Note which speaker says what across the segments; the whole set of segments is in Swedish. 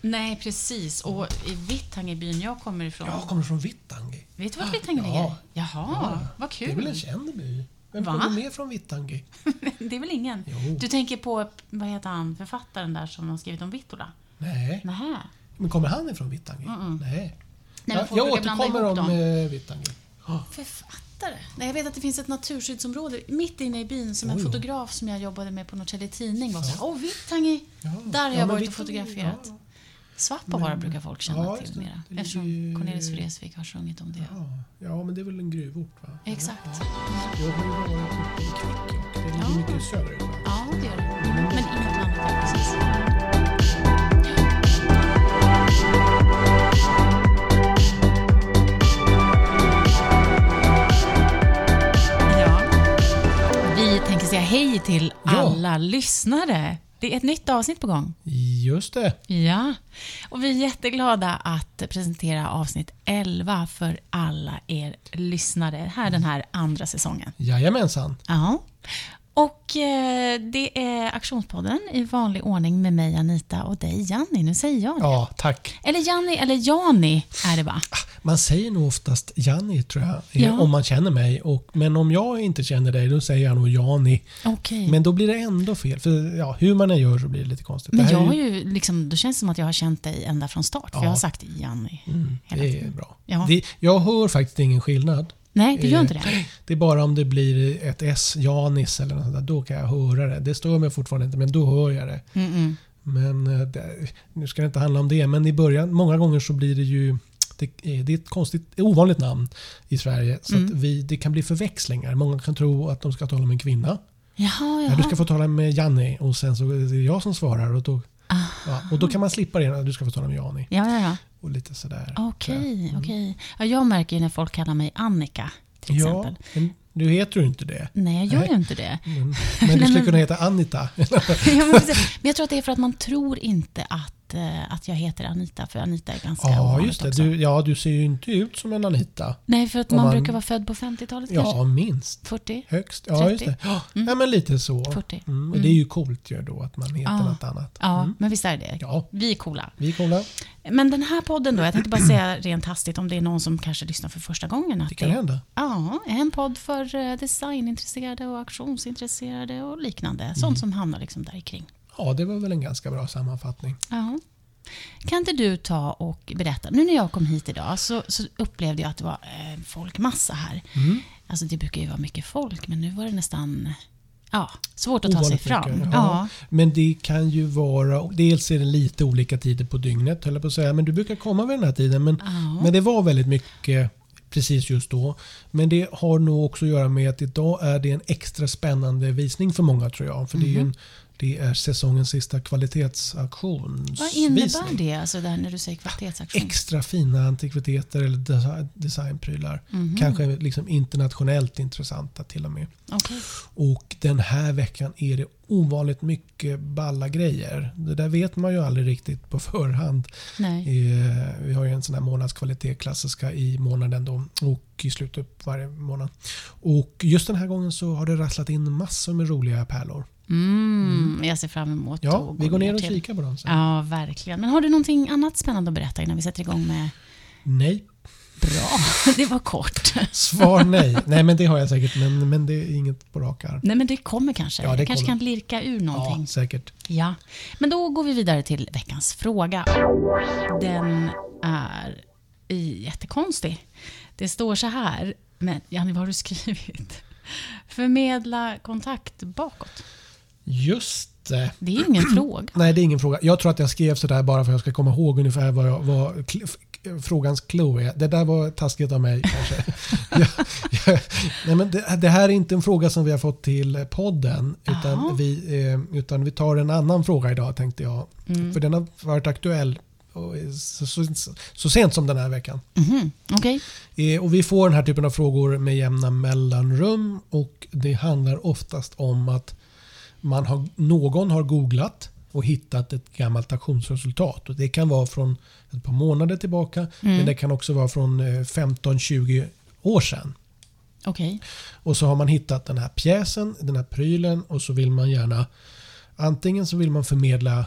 Speaker 1: Nej, precis. Och i Vittangebyn jag kommer ifrån.
Speaker 2: Jag kommer från Vittangi.
Speaker 1: Vet du vart Vittangi
Speaker 2: Ah, Ja.
Speaker 1: ligger? Jaha, vad
Speaker 2: Det är väl en
Speaker 1: kul.
Speaker 2: känd by? Vem
Speaker 1: Va?
Speaker 2: kommer med från Vittangi?
Speaker 1: Det är väl ingen?
Speaker 2: Jo.
Speaker 1: Du tänker på, vad heter han, författaren där som har skrivit om Vittola?
Speaker 2: Nej.
Speaker 1: Nähä.
Speaker 2: Men kommer han ifrån Vittangi? Nej.
Speaker 1: men
Speaker 2: Jag,
Speaker 1: folk
Speaker 2: jag
Speaker 1: brukar blanda
Speaker 2: återkommer
Speaker 1: ihop
Speaker 2: om
Speaker 1: dem.
Speaker 2: eh, Vittangi. Ja.
Speaker 1: Författare? Nej, jag vet att det finns ett naturskyddsområde mitt inne i byn som en
Speaker 2: Oj.
Speaker 1: fotograf som jag jobbade med på Norrtälje Tidning var så här, Åh, Vittangi!
Speaker 2: Ja.
Speaker 1: Där har
Speaker 2: Ja,
Speaker 1: jag
Speaker 2: men
Speaker 1: varit och
Speaker 2: Vittangi,
Speaker 1: fotograferat.
Speaker 2: ja.
Speaker 1: Svappavaara
Speaker 2: Men-
Speaker 1: brukar folk känna
Speaker 2: ja, just
Speaker 1: till
Speaker 2: det.
Speaker 1: mera.
Speaker 2: Det
Speaker 1: Eftersom
Speaker 2: ligger ju-
Speaker 1: Cornelis Vreeswijk har sjungit om det.
Speaker 2: Ja. ja, men det är väl en gruvort va?
Speaker 1: Exakt.
Speaker 2: Jag har ju varit uppe i Kvikkjokk. Det ligger
Speaker 1: Ja.
Speaker 2: mycket söderut va?
Speaker 1: Ja, det gör det. Men inget annat än precis. Ja. Vi tänker säga hej till
Speaker 2: Ja.
Speaker 1: alla lyssnare. Det är ett nytt avsnitt på gång.
Speaker 2: Just det.
Speaker 1: Ja, och vi är jätteglada att presentera avsnitt 11 för alla er lyssnare här den här andra säsongen.
Speaker 2: Jajamensan.
Speaker 1: Ja. Och eh, det är Aktionspodden i vanlig ordning med mig Anita och dig Janni. Nu säger jag det.
Speaker 2: Ja, tack. Ah,
Speaker 1: Eller Janni eller Jani är det va?
Speaker 2: Man säger nog oftast Janni tror jag, eh,
Speaker 1: Ja.
Speaker 2: om man känner mig. Och, men om jag inte känner dig, då säger jag nog Jani.
Speaker 1: Okej. Men,
Speaker 2: Men då blir det ändå fel. För ja, hur man än gör så blir det lite konstigt. det
Speaker 1: jag
Speaker 2: här
Speaker 1: har
Speaker 2: är ju,
Speaker 1: ju liksom, då känns det som att jag har känt dig ända från start. För
Speaker 2: Ja.
Speaker 1: jag har sagt Janni hela
Speaker 2: Mm, det är
Speaker 1: tiden.
Speaker 2: bra.
Speaker 1: Ja.
Speaker 2: Det, jag hör faktiskt ingen skillnad.
Speaker 1: Nej, du gör
Speaker 2: Eh,
Speaker 1: inte det?
Speaker 2: Det är bara om det blir ett S, Janis eller något sånt där, då kan jag höra det. Det stör mig fortfarande inte, men då hör jag det.
Speaker 1: Mm-mm.
Speaker 2: Men eh, det, nu ska det inte handla om det, men i början, många gånger så blir det ju det är det är ett konstigt, ovanligt namn i Sverige. Så
Speaker 1: Mm.
Speaker 2: att vi, det kan bli förväxlingar. Många kan tro att de ska tala med en kvinna.
Speaker 1: Jaha,
Speaker 2: Ja,
Speaker 1: jaha.
Speaker 2: du ska få tala med Janni och sen så är det jag som svarar. Och då,
Speaker 1: Ah.
Speaker 2: ja, och då kan man slippa det. ja, Du ska få tala med Jani.
Speaker 1: Ja, ja, ja.
Speaker 2: Och lite sådär.
Speaker 1: Okej, okej. Ja, jag märker ju när folk kallar mig Annika, till
Speaker 2: Ja,
Speaker 1: exempel.
Speaker 2: men nu heter du inte det.
Speaker 1: Nej, jag gör
Speaker 2: Nej.
Speaker 1: ju inte det.
Speaker 2: Men, men du skulle kunna heta Anita.
Speaker 1: Ja, men, precis. men jag tror att det är för att man tror inte att, eh, att jag heter Anita, för Anita är ganska
Speaker 2: Ja,
Speaker 1: ovanligt
Speaker 2: just det.
Speaker 1: också.
Speaker 2: Du, ja, du ser ju inte ut som en Anita.
Speaker 1: Nej, för att
Speaker 2: Om
Speaker 1: man,
Speaker 2: man-
Speaker 1: brukar vara född på 50-talet kanske? Mm.
Speaker 2: Ja, minst.
Speaker 1: 40?
Speaker 2: Högst. Ja, just
Speaker 1: 30.
Speaker 2: det. Ja, ja, men lite så.
Speaker 1: 40.
Speaker 2: Mm, och det är ju coolt ju då att man heter
Speaker 1: Ja.
Speaker 2: något annat.
Speaker 1: Ja, men visst är det
Speaker 2: Mm. Ja.
Speaker 1: Vi är coola.
Speaker 2: Vi är coola.
Speaker 1: Men den här podden då, jag tänkte bara säga rent hastigt om det är någon som kanske lyssnar för första gången. Att
Speaker 2: Det kan hända.
Speaker 1: Ja, en podd för eh, designintresserade och auktionsintresserade och liknande.
Speaker 2: Mm.
Speaker 1: Sånt som hamnar liksom där kring.
Speaker 2: Ja, det var väl en ganska bra sammanfattning.
Speaker 1: Ja. Kan inte du ta och berätta, nu när jag kom hit idag så, så upplevde jag att det var eh, folkmassa här.
Speaker 2: Mm.
Speaker 1: Alltså det brukar ju vara mycket folk, men nu var det nästan ja, svårt att ta sig
Speaker 2: Ovanligt
Speaker 1: fram.
Speaker 2: mycket,
Speaker 1: Ja.
Speaker 2: Men det kan ju vara... Dels är det lite olika tider på dygnet, höll jag på att säga. Men du brukar komma vid den här tiden. Men,
Speaker 1: Ja.
Speaker 2: men det var väldigt mycket precis just då. Men det har nog också att göra med att idag är det en extra spännande visning för många tror jag. För det är ju
Speaker 1: Mhm.
Speaker 2: en, det är säsongens sista kvalitetsauktionsvisning.
Speaker 1: Vad innebär det, alltså där när du säger kvalitetsaktion?
Speaker 2: extra fina antikviteter eller desi- designprylar.
Speaker 1: Mhm. Mm.
Speaker 2: Kanske liksom internationellt intressanta till och med.
Speaker 1: Okej.
Speaker 2: Och den här veckan är det ovanligt mycket balla grejer. Det där vet man ju aldrig riktigt på förhand.
Speaker 1: Nej.
Speaker 2: Eh, Vi har ju en sån här månadskvalitet, klassiska, i månaden då och i slutet på varje månad. Och just den här gången så har det rasslat in massor med roliga pärlor.
Speaker 1: Mm, jag ser fram emot att
Speaker 2: Ja,
Speaker 1: gå
Speaker 2: vi går ner och
Speaker 1: till-
Speaker 2: kikar på dem sen.
Speaker 1: Ja, verkligen. Men har du någonting annat spännande att berätta innan vi sätter igång med
Speaker 2: Nej,
Speaker 1: bra? Det var kort.
Speaker 2: svar nej. Nej, men det har jag säkert, men, men det är inget på rak arm.
Speaker 1: Nej, men det kommer kanske.
Speaker 2: Ja, det
Speaker 1: jag kanske
Speaker 2: kommer.
Speaker 1: kan lirka ur någonting.
Speaker 2: Ja, säkert.
Speaker 1: Ja, men då går vi vidare till veckans fråga. Den är i- jättekonstig. Det står så här, men Janni, vad har du skrivit? Förmedla kontakt bakåt.
Speaker 2: Just det.
Speaker 1: Det är ju ingen fråga.
Speaker 2: Nej, det är ingen fråga. Jag tror att jag skrev sådär bara för att jag ska komma ihåg ungefär vad, jag, vad kl- f- frågans clou är. Det där var taskigt av mig kanske. jag, jag, nej, men det, det här är inte en fråga som vi har fått till podden.
Speaker 1: Jaha.
Speaker 2: Utan vi, eh, utan vi tar en annan fråga idag tänkte jag.
Speaker 1: Mm.
Speaker 2: För den har varit aktuell och, eh, så, så, så sent som den här veckan.
Speaker 1: Mhm, Okej.
Speaker 2: Eh, Och vi får den här typen av frågor med jämna mellanrum och det handlar oftast om att man har, någon har googlat och hittat ett gammalt auktionsresultat. Och det kan vara från ett par månader tillbaka men det kan också vara från eh, 15-20 år sedan.
Speaker 1: Okej.
Speaker 2: Och så har man hittat den här pjäsen, den här prylen och så vill man gärna antingen så vill man förmedla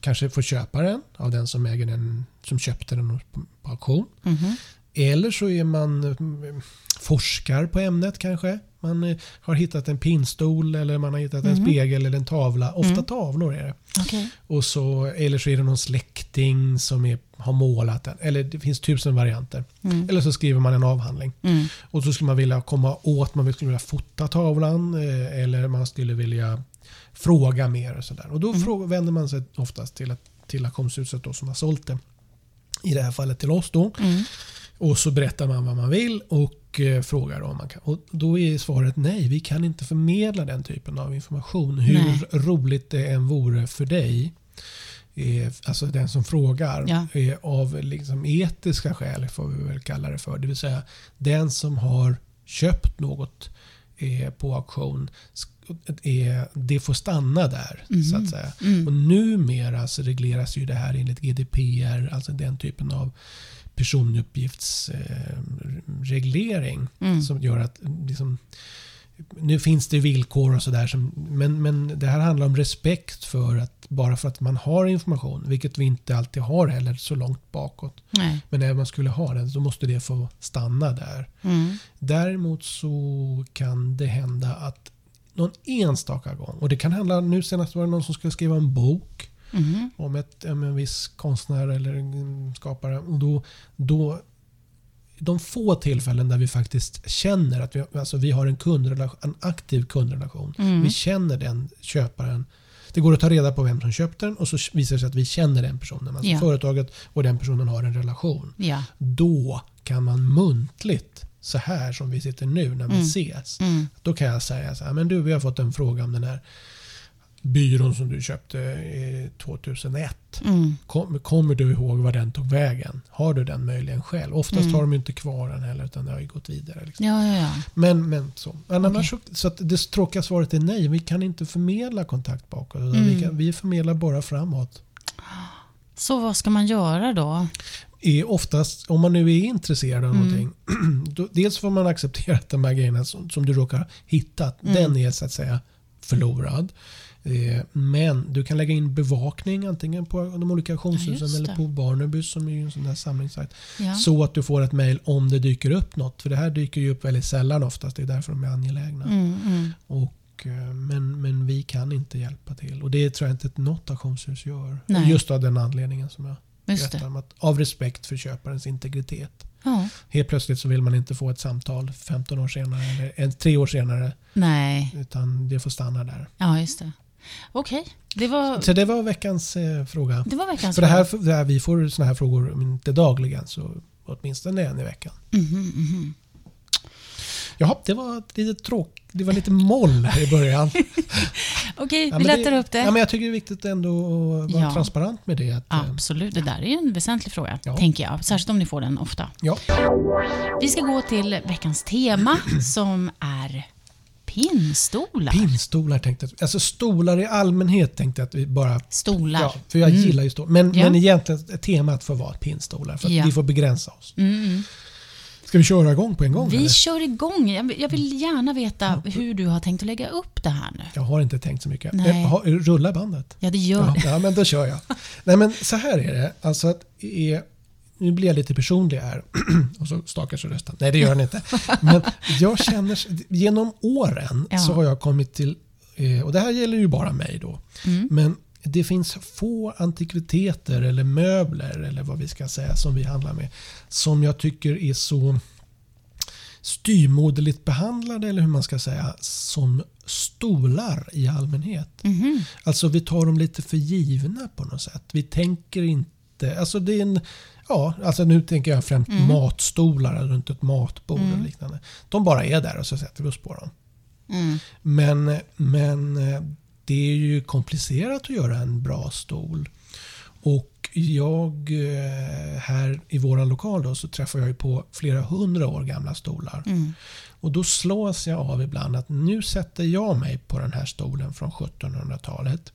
Speaker 2: kanske får köpa den av den som äger den som köpte den på på auktion.
Speaker 1: Mhm.
Speaker 2: Eller så är man eh, forskar på ämnet kanske. Man eh, har hittat en pinnstol eller man har hittat en spegel eller en tavla. Ofta tavlor är det.
Speaker 1: Okej.
Speaker 2: Och så, eller så är det någon släkting som är, har målat den. Eller det finns tusen varianter.
Speaker 1: Mm.
Speaker 2: Eller så skriver man en avhandling. Och så skulle man vilja komma åt, man skulle vilja fota tavlan eh, eller man skulle vilja fråga mer. Och, så där. och då fråga, vänder man sig oftast till, att- till auktionshuset då, som har sålt det. I det här fallet till oss då.
Speaker 1: Mm.
Speaker 2: Och så berättar man vad man vill och eh, frågar om man kan. Och då är svaret nej, vi kan inte förmedla den typen av information. Hur
Speaker 1: Nej.
Speaker 2: roligt det än vore för dig, eh, alltså den som frågar,
Speaker 1: Ja.
Speaker 2: eh, av liksom etiska skäl får vi väl kalla det för. Det vill säga den som har köpt något eh, på auktion, sk- eh, det får stanna där. så
Speaker 1: Mm.
Speaker 2: att säga. Och numera så regleras ju det här enligt GDPR, alltså den typen av personuppgiftsreglering
Speaker 1: Mm.
Speaker 2: som gör att liksom, nu finns det villkor och sådär. som- Men, men det här handlar om respekt för att bara för att man har information, vilket vi inte alltid har heller så långt bakåt.
Speaker 1: Nej.
Speaker 2: Men även om man skulle ha den så måste det få stanna där.
Speaker 1: Mm.
Speaker 2: Däremot så kan det hända att någon enstaka gång, och det kan handla, nu senast var det någon som skulle skriva en bok
Speaker 1: Mhm.
Speaker 2: om, ett, om en viss konstnär eller en skapare. Och då, då, de få tillfällen där vi faktiskt känner att vi, alltså vi har en, kundrelation, en aktiv kundrelation.
Speaker 1: Mm.
Speaker 2: Vi känner den köparen. Det går att ta reda på vem som köpte den och så visar det sig att vi känner den personen. Alltså
Speaker 1: Ja.
Speaker 2: företaget och den personen har en relation.
Speaker 1: Ja.
Speaker 2: Då kan man muntligt, så här som vi sitter nu när vi
Speaker 1: Mm.
Speaker 2: ses,
Speaker 1: Mm.
Speaker 2: då kan jag säga så här, men du vi har fått en fråga om den här byrån som du köpte eh, 2001.
Speaker 1: Mm.
Speaker 2: Kom, kommer du ihåg var den tog vägen? Har du den möjligen själv? Oftast
Speaker 1: Mm.
Speaker 2: har de ju inte kvar den heller utan det har ju gått vidare. Liksom.
Speaker 1: Ja, ja, ja.
Speaker 2: Men, men så. Men Annars, så, så att det tråkiga svaret är nej. Vi kan inte förmedla kontakt bakåt. utan Vi,
Speaker 1: Mm.
Speaker 2: kan, vi förmedlar bara framåt.
Speaker 1: Så vad ska man göra då?
Speaker 2: Är oftast, om man nu är intresserad av
Speaker 1: Mm.
Speaker 2: någonting. Då, dels får man acceptera att de här grejerna som, som du råkar ha hittat,
Speaker 1: Mm.
Speaker 2: den är så att säga förlorad. Eh, men du kan lägga in bevakning antingen på de olika
Speaker 1: Ja,
Speaker 2: auktionshusen
Speaker 1: just
Speaker 2: eller
Speaker 1: det.
Speaker 2: på Barnaby som är ju en sån där samlingssajt.
Speaker 1: Ja.
Speaker 2: Så att du får ett mail om det dyker upp något. För det här dyker ju upp väldigt sällan oftast. Det är därför de är angelägna.
Speaker 1: Mm, mm.
Speaker 2: Och, eh, men, men vi kan inte hjälpa till. Och det tror jag inte att något auktionshus gör.
Speaker 1: Nej.
Speaker 2: Just av den anledningen som jag
Speaker 1: Just
Speaker 2: berättade
Speaker 1: det.
Speaker 2: om. Att av respekt för köparens integritet.
Speaker 1: Ja.
Speaker 2: Helt plötsligt så vill man inte få ett samtal 15 år senare eller en, tre år senare.
Speaker 1: Nej.
Speaker 2: Utan det får stanna där.
Speaker 1: Ja, just det. Okej. Det, var,
Speaker 2: Så det var veckans eh, fråga.
Speaker 1: det var veckans
Speaker 2: För det här, det här, vi får såna här frågor, om inte dagligen, så åtminstone en i veckan.
Speaker 1: Mhm, mhm.
Speaker 2: Jaha, det var lite tråk, Det var lite moll här i början.
Speaker 1: Okej,
Speaker 2: Ja,
Speaker 1: vi
Speaker 2: men
Speaker 1: lättar upp det.
Speaker 2: Ja, men jag tycker det är viktigt ändå att vara
Speaker 1: Ja.
Speaker 2: transparent med det. Att, eh,
Speaker 1: Absolut, det där är ju en väsentlig fråga,
Speaker 2: Ja.
Speaker 1: tänker jag. Särskilt om ni får den ofta.
Speaker 2: ja.
Speaker 1: Vi ska gå till veckans tema som är pinnstolar.
Speaker 2: Pinnstolar tänkte jag. Alltså stolar i allmänhet tänkte jag att vi bara...
Speaker 1: Stolar.
Speaker 2: Ja, för jag gillar ju stolar. Men,
Speaker 1: Mm. Ja.
Speaker 2: men egentligen temat får vara pinnstolar. För att
Speaker 1: Ja.
Speaker 2: vi får begränsa oss.
Speaker 1: Mm.
Speaker 2: Ska vi köra igång på en gång?
Speaker 1: Vi
Speaker 2: eller?
Speaker 1: kör igång. Jag vill- jag vill gärna veta hur du har tänkt att lägga upp det här nu.
Speaker 2: Jag har inte tänkt så mycket.
Speaker 1: Nej.
Speaker 2: Eh, ha- Rulla bandet.
Speaker 1: Ja, det gör
Speaker 2: Ja,
Speaker 1: det.
Speaker 2: ja, men då kör jag. Nej, men så här är det. Alltså att är, nu blir jag lite personlig här. Och så stakar sig rösten. Nej, det gör den inte. Men jag känner, genom åren
Speaker 1: Ja.
Speaker 2: så har jag kommit till, eh, och det här gäller ju bara mig då, men det finns få antikviteter eller möbler eller vad vi ska säga som vi handlar med som jag tycker är så styrmoderligt behandlade eller hur man ska säga som stolar i allmänhet.
Speaker 1: Mhm.
Speaker 2: Alltså vi tar dem lite för givna på något sätt. Vi tänker inte... Alltså det är en... Ja, alltså nu tänker jag främst matstolar runt ett matbord och liknande. De bara är där och så sätter vi oss på dem.
Speaker 1: Mm.
Speaker 2: Men, men eh, det är ju komplicerat att göra en bra stol. Och jag eh, här i våran lokal då, så träffar jag ju på flera hundra år gamla stolar.
Speaker 1: Mm.
Speaker 2: Och då slås jag av ibland att nu sätter jag mig på den här stolen från 1700-talet.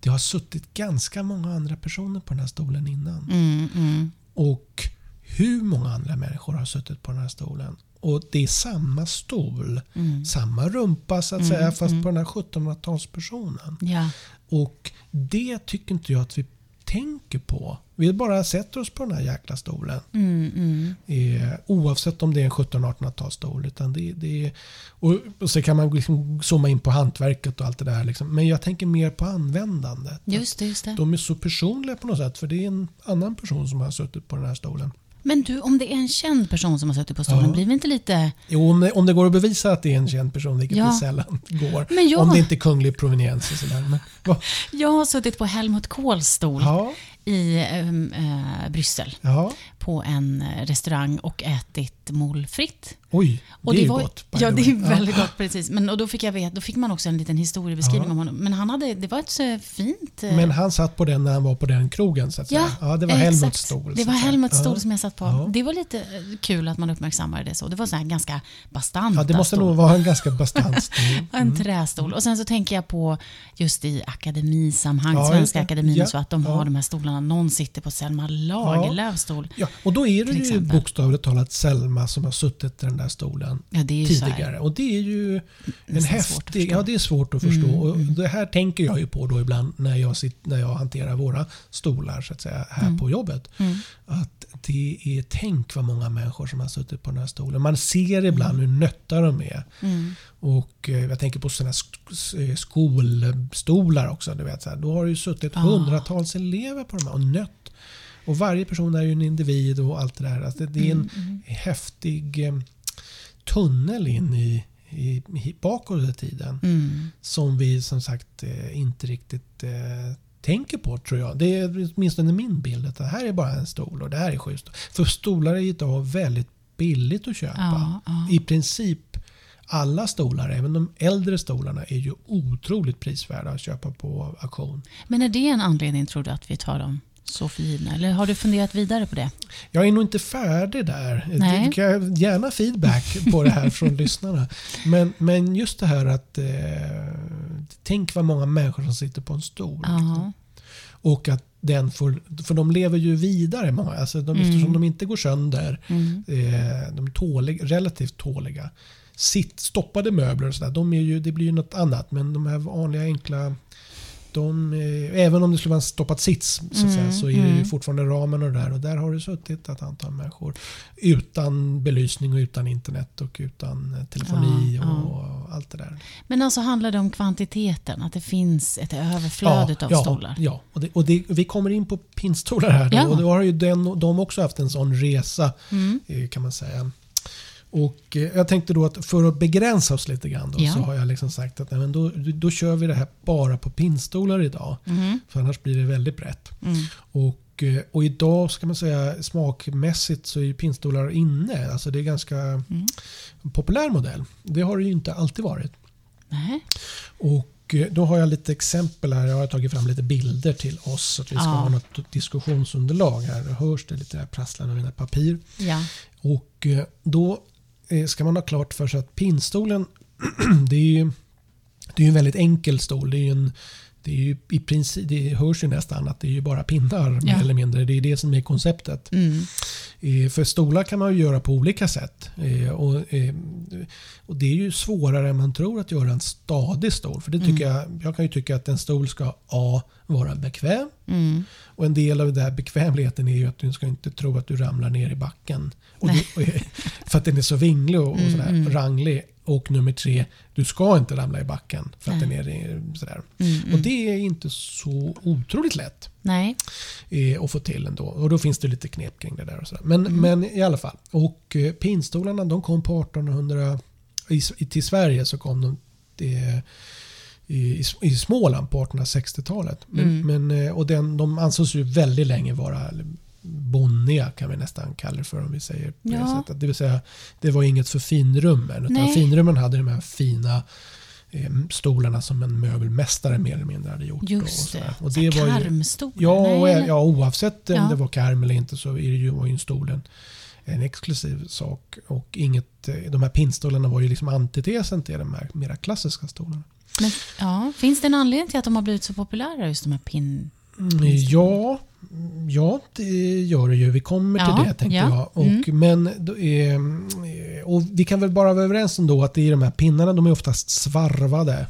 Speaker 2: Det har suttit ganska många andra personer på den här stolen innan.
Speaker 1: Mm. Mm.
Speaker 2: Och hur många andra människor har suttit på den här stolen? Och det är samma
Speaker 1: Mm.
Speaker 2: stol, samma rumpa så att säga, fast på den här 1700-talspersonen.
Speaker 1: Ja.
Speaker 2: Och det tycker inte jag att vi tänker på. Vi bara sätter oss på den här jäkla stolen.
Speaker 1: Mm, mm.
Speaker 2: Eh, oavsett om det är en 1700-1800-talsstol. Utan det, det är, och, och så kan man liksom zooma in på hantverket och allt det där. Liksom. Men jag tänker mer på användandet.
Speaker 1: Just det, just det.
Speaker 2: De är så personliga på något sätt. För det är en annan person som har suttit på den här stolen.
Speaker 1: Men du, om det är en känd person som har suttit på stolen,
Speaker 2: Ja.
Speaker 1: blir vi inte lite...
Speaker 2: Jo, om det, om det går att bevisa att det är en känd person, vilket
Speaker 1: Ja.
Speaker 2: det sällan går.
Speaker 1: Men jag-
Speaker 2: Om det inte är kunglig proveniens och sådär. Men, va?
Speaker 1: Jag har suttit på Helmut Kohls stol
Speaker 2: Ja,
Speaker 1: i ehm, eh, Bryssel
Speaker 2: ja.
Speaker 1: på en eh, restaurang och ätit moules frites.
Speaker 2: Oj,
Speaker 1: Och
Speaker 2: det, är ju
Speaker 1: var-
Speaker 2: gott. by
Speaker 1: Ja,
Speaker 2: the
Speaker 1: det
Speaker 2: way.
Speaker 1: är väldigt gott. Precis. Men, och då, fick jag vet, då fick man också en liten historiebeskrivning
Speaker 2: Ja.
Speaker 1: om honom. Men han hade, det var ett så fint... eh,
Speaker 2: Men han satt på den när han var på den krogen. Så att
Speaker 1: ja,
Speaker 2: säga. ja, det var
Speaker 1: exakt.
Speaker 2: Helmuts stol.
Speaker 1: Det
Speaker 2: så
Speaker 1: var
Speaker 2: att säga.
Speaker 1: Helmuts
Speaker 2: Ja.
Speaker 1: stol som jag satt på.
Speaker 2: Ja.
Speaker 1: Det var lite eh, kul att man uppmärksammade det så. Det var så här ganska bastanta
Speaker 2: Ja, det måste nog
Speaker 1: stolar.
Speaker 2: vara en ganska bastant stol.
Speaker 1: En trästol. Och sen så tänker jag på just i akademisammanhang,
Speaker 2: Ja, just
Speaker 1: Svenska
Speaker 2: det.
Speaker 1: akademin,
Speaker 2: Ja,
Speaker 1: så att de
Speaker 2: ja.
Speaker 1: har de här stolarna. Någon sitter på Selma Lagerlöfs stol.
Speaker 2: Ja, och då är det
Speaker 1: Till
Speaker 2: ju
Speaker 1: exempel.
Speaker 2: bokstavligt talat Selma som har suttit i den där stolen
Speaker 1: Ja, det är ju så här.
Speaker 2: tidigare. Och det är ju en
Speaker 1: Nästan svårt att
Speaker 2: häftig...
Speaker 1: förstå. Mm,
Speaker 2: Ja, det är svårt att förstå. och det här tänker jag ju på då ibland när jag, sitter, när jag hanterar våra stolar så att säga, här
Speaker 1: Mm.
Speaker 2: på jobbet. Att det är, tänk vad många människor som har suttit på den här stolen. Man ser
Speaker 1: Mm.
Speaker 2: ibland hur nötta de är. Och eh, jag tänker på sådana eh, skolstolar också. Du vet, så här, då har det ju suttit hundratals elever på de här och nött. Och varje person är ju en individ och allt det där. Alltså det, det är en häftig eh, tunnel in i, i, i bakåt i tiden.
Speaker 1: Mm.
Speaker 2: Som vi som sagt eh, inte riktigt eh, tänker på tror jag. Det är åtminstone min bild. Att det här är bara en stol och det här är sju stolar. För stolar är idag väldigt billigt att köpa.
Speaker 1: Ja, ja.
Speaker 2: I princip alla stolar, även de äldre stolarna, är ju otroligt prisvärda att köpa på auktion.
Speaker 1: Men är det en anledning, tror du, att vi tar dem så för givna? Eller har du funderat vidare på det?
Speaker 2: Jag är nog inte färdig där.
Speaker 1: Nej.
Speaker 2: Det kan jag- Gärna feedback på det här från lyssnarna. Men, men just det här att eh, tänk vad många människor som sitter på en stol.
Speaker 1: Ja.
Speaker 2: Och att den får, för de lever ju vidare många. Alltså de, Eftersom de inte går sönder.
Speaker 1: Mm.
Speaker 2: Eh, de är tålig, relativt tåliga. Sitt, stoppade möbler och sådär, de är ju, det blir ju något annat. Men de här vanliga enkla de, eh, även om det skulle vara en stoppad sits så, att
Speaker 1: Mm,
Speaker 2: säga, så är det ju fortfarande ramen och det där. Och där har det suttit ett antal människor utan belysning och utan internet och utan eh, telefoni
Speaker 1: Ja,
Speaker 2: och,
Speaker 1: ja.
Speaker 2: allt det där.
Speaker 1: Men alltså handlar det om kvantiteten? Att det finns ett överflöd av
Speaker 2: ja,
Speaker 1: stolar?
Speaker 2: Ja, och, det, och det, vi kommer in på pinstolar här. Då,
Speaker 1: Ja.
Speaker 2: och då har ju den, de också haft en sån resa
Speaker 1: Mm.
Speaker 2: eh, kan man säga. Och eh, jag tänkte då att för att begränsa oss lite grann då,
Speaker 1: Ja.
Speaker 2: så har jag liksom sagt att nej, men då, då kör vi det här bara på pinstolar idag.
Speaker 1: Mm-hmm.
Speaker 2: För annars blir det väldigt brett.
Speaker 1: Mm.
Speaker 2: Och, eh, och idag ska man säga smakmässigt så är ju pinstolar inne. Alltså det är ganska
Speaker 1: Mm.
Speaker 2: populär modell. Det har det ju inte alltid varit.
Speaker 1: Nej.
Speaker 2: Och eh, då har jag lite exempel här. Jag har tagit fram lite bilder till oss så att vi ska
Speaker 1: Ja.
Speaker 2: ha något diskussionsunderlag här. Det hörs det lite där prasslande av mina papper.
Speaker 1: Ja.
Speaker 2: Och eh, då eh, ska man ha klart för sig att pinstolen det är ju det är ju en väldigt enkel stol. Det är ju en det, är ju i princip, det hörs ju nästan att det är ju bara pinnar mer
Speaker 1: Ja.
Speaker 2: eller mindre. Det är det som är konceptet.
Speaker 1: Mm.
Speaker 2: Eh, För stolar kan man ju göra på olika sätt. Eh, Och, eh, och Det är ju svårare än man tror att göra en stadig stol. För det tycker jag, jag kan ju tycka att en stol ska A. Vara bekväm.
Speaker 1: Mm.
Speaker 2: Och En del av den där bekvämligheten är ju att du ska inte tro att du ramlar ner i backen. Och du, och- för att den är så vinglig och, och sådär, ranglig. Och nummer tre, du ska inte ramla i backen. För att den är sådär. Och Det är inte så otroligt lätt
Speaker 1: Nej.
Speaker 2: eh, och få till ändå. Och då finns det lite knep kring det där. Och sådär. Men,
Speaker 1: Mm.
Speaker 2: men i alla fall. Och eh, pinstolarna de kom på 1800... I, S- i- till Sverige så kom de eh, i, i S- i Småland på 1860-talet. Men,
Speaker 1: Mm.
Speaker 2: men, eh, och den, de ansågs ju väldigt länge vara bonniga kan vi nästan kalla det för om vi säger på det
Speaker 1: Ja.
Speaker 2: sättet. Det vill säga, det var inget för finrummen. Utan
Speaker 1: Nej.
Speaker 2: finrummen hade de här fina eh, stolarna som en möbelmästare mer eller mindre hade gjort.
Speaker 1: Just
Speaker 2: och,
Speaker 1: det.
Speaker 2: och, och
Speaker 1: Så här
Speaker 2: det var ju,
Speaker 1: Karmstolar?
Speaker 2: Ja, och,
Speaker 1: Nej,
Speaker 2: ä- ja oavsett om
Speaker 1: Ja.
Speaker 2: det var karm eller inte så är det ju, var ju en stol en, en exklusiv sak. Och inget, eh, de här pinnstolarna var ju liksom antitesen till de här mera klassiska stolarna.
Speaker 1: Men, ja. Finns det en anledning till att de har blivit så populära, just de här pin...
Speaker 2: Mm, ja, mm, ja, det gör det ju. Vi kommer till
Speaker 1: Ja, Mm.
Speaker 2: det tänkte
Speaker 1: ja.
Speaker 2: jag. Och, Men då är, eh, Och vi kan väl bara vara överens om då att det är de här pinnarna de är oftast svarvade.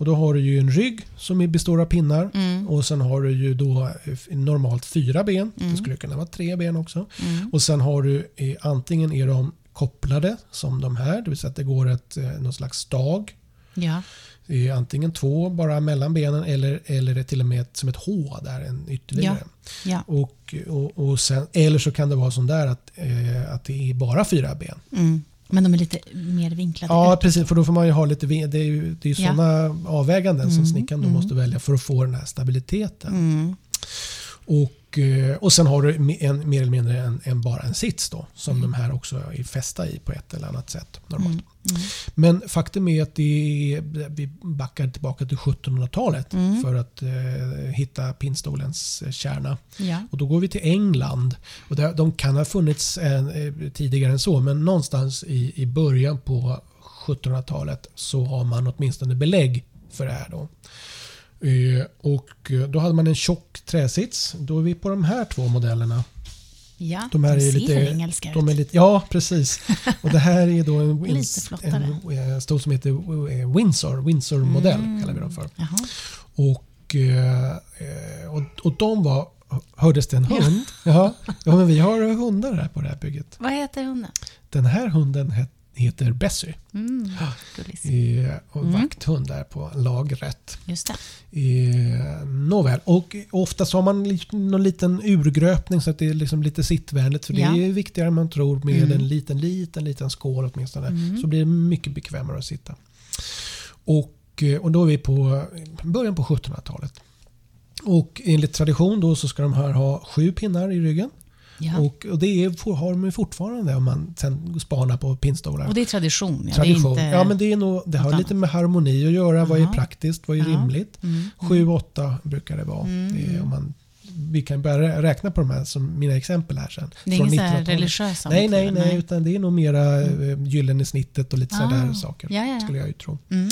Speaker 2: Och då har du ju en rygg som består av pinnar.
Speaker 1: Mm.
Speaker 2: Och sen har du ju då eh, normalt fyra ben.
Speaker 1: Mm.
Speaker 2: Det skulle kunna vara tre ben också. Och sen har du eh, antingen är de kopplade som de här. Det vill säga att det går ett, eh, någon slags stag.
Speaker 1: Ja.
Speaker 2: Det är antingen två bara mellan benen eller, eller det till och med ett, som ett H där en ytterligare.
Speaker 1: ja.
Speaker 2: Och, och, och sen, eller så kan det vara sån där att, eh, att det är bara fyra ben.
Speaker 1: Mm. Men de är lite mer vinklade.
Speaker 2: Ja, precis. För då får man ju ha lite... ve- Det är ju, det är ju
Speaker 1: Ja.
Speaker 2: sådana avväganden som snickaren då måste välja för att få den här stabiliteten.
Speaker 1: Mm.
Speaker 2: Och, eh, och sen har du me- en, mer eller mindre en, en, bara en sits då, som de här också är fästa i på ett eller annat sätt. Normalt.
Speaker 1: Mm. Mm.
Speaker 2: Men faktum är att det är, vi backar tillbaka till 1700-talet
Speaker 1: Mm.
Speaker 2: för att eh, hitta pinnstolens eh, kärna.
Speaker 1: Ja.
Speaker 2: Och då går vi till England. Och där, de kan ha funnits eh, eh, tidigare än så men någonstans i, i början på 1700-talet så har man åtminstone belägg för det här. Då. Eh, och eh, då hade man en tjock träsits. Då är vi på de här två modellerna.
Speaker 1: ja.
Speaker 2: De här är
Speaker 1: ser
Speaker 2: lite-
Speaker 1: engelska
Speaker 2: De är
Speaker 1: ut.
Speaker 2: lite, ja, precis. Och det här är då en, en,
Speaker 1: Lite flottare. Mm.
Speaker 2: en, eh, stol som heter eh, Windsor. Windsor-modell kallar vi dem för.
Speaker 1: Jaha.
Speaker 2: Och, eh, eh, och, och de var... Hördes det en hund? Ja. ja, men vi har hundar här på det här bygget.
Speaker 1: Vad heter hunden?
Speaker 2: Den här hunden het, heter Bessie.
Speaker 1: Mm. Gullis.
Speaker 2: Eh, och
Speaker 1: Mm.
Speaker 2: Vakthund där på lagret.
Speaker 1: Just det.
Speaker 2: Eh, nåväl, och ofta så har man li- någon liten urgröpning så att det är liksom lite sittvänligt. För
Speaker 1: Ja.
Speaker 2: det är ju viktigare än man tror med
Speaker 1: Mm.
Speaker 2: en liten, liten, liten skål åtminstone.
Speaker 1: Mm.
Speaker 2: Så blir det mycket bekvämare att sitta. Och, eh, och då är vi på början på 1700-talet. Och enligt tradition då så ska de här ha sju pinnar i ryggen.
Speaker 1: Ja. Och,
Speaker 2: Och, och det är, får- har de ju fortfarande om man sen spanar på pinnstolar.
Speaker 1: det är tradition. Ja.
Speaker 2: tradition.
Speaker 1: Det är inte...
Speaker 2: ja, men det, är nog, det har
Speaker 1: något
Speaker 2: lite med harmoni att göra. Vad är
Speaker 1: Jaha.
Speaker 2: praktiskt? Vad är
Speaker 1: Ja.
Speaker 2: rimligt?
Speaker 1: Mm.
Speaker 2: Sju, åtta brukar det vara.
Speaker 1: Mm,
Speaker 2: Det är,
Speaker 1: mm.
Speaker 2: om man, vi kan börja räkna på de här som mina exempel här sen.
Speaker 1: Det är inget så här
Speaker 2: 1900-talet.
Speaker 1: religiösa
Speaker 2: Nej, nej,
Speaker 1: motiv,
Speaker 2: nej, utan det är nog mera mm. gyllene snittet och lite sådana
Speaker 1: Ah,
Speaker 2: där saker.
Speaker 1: ja, ja, ja.
Speaker 2: Skulle jag ju tro.
Speaker 1: Mm.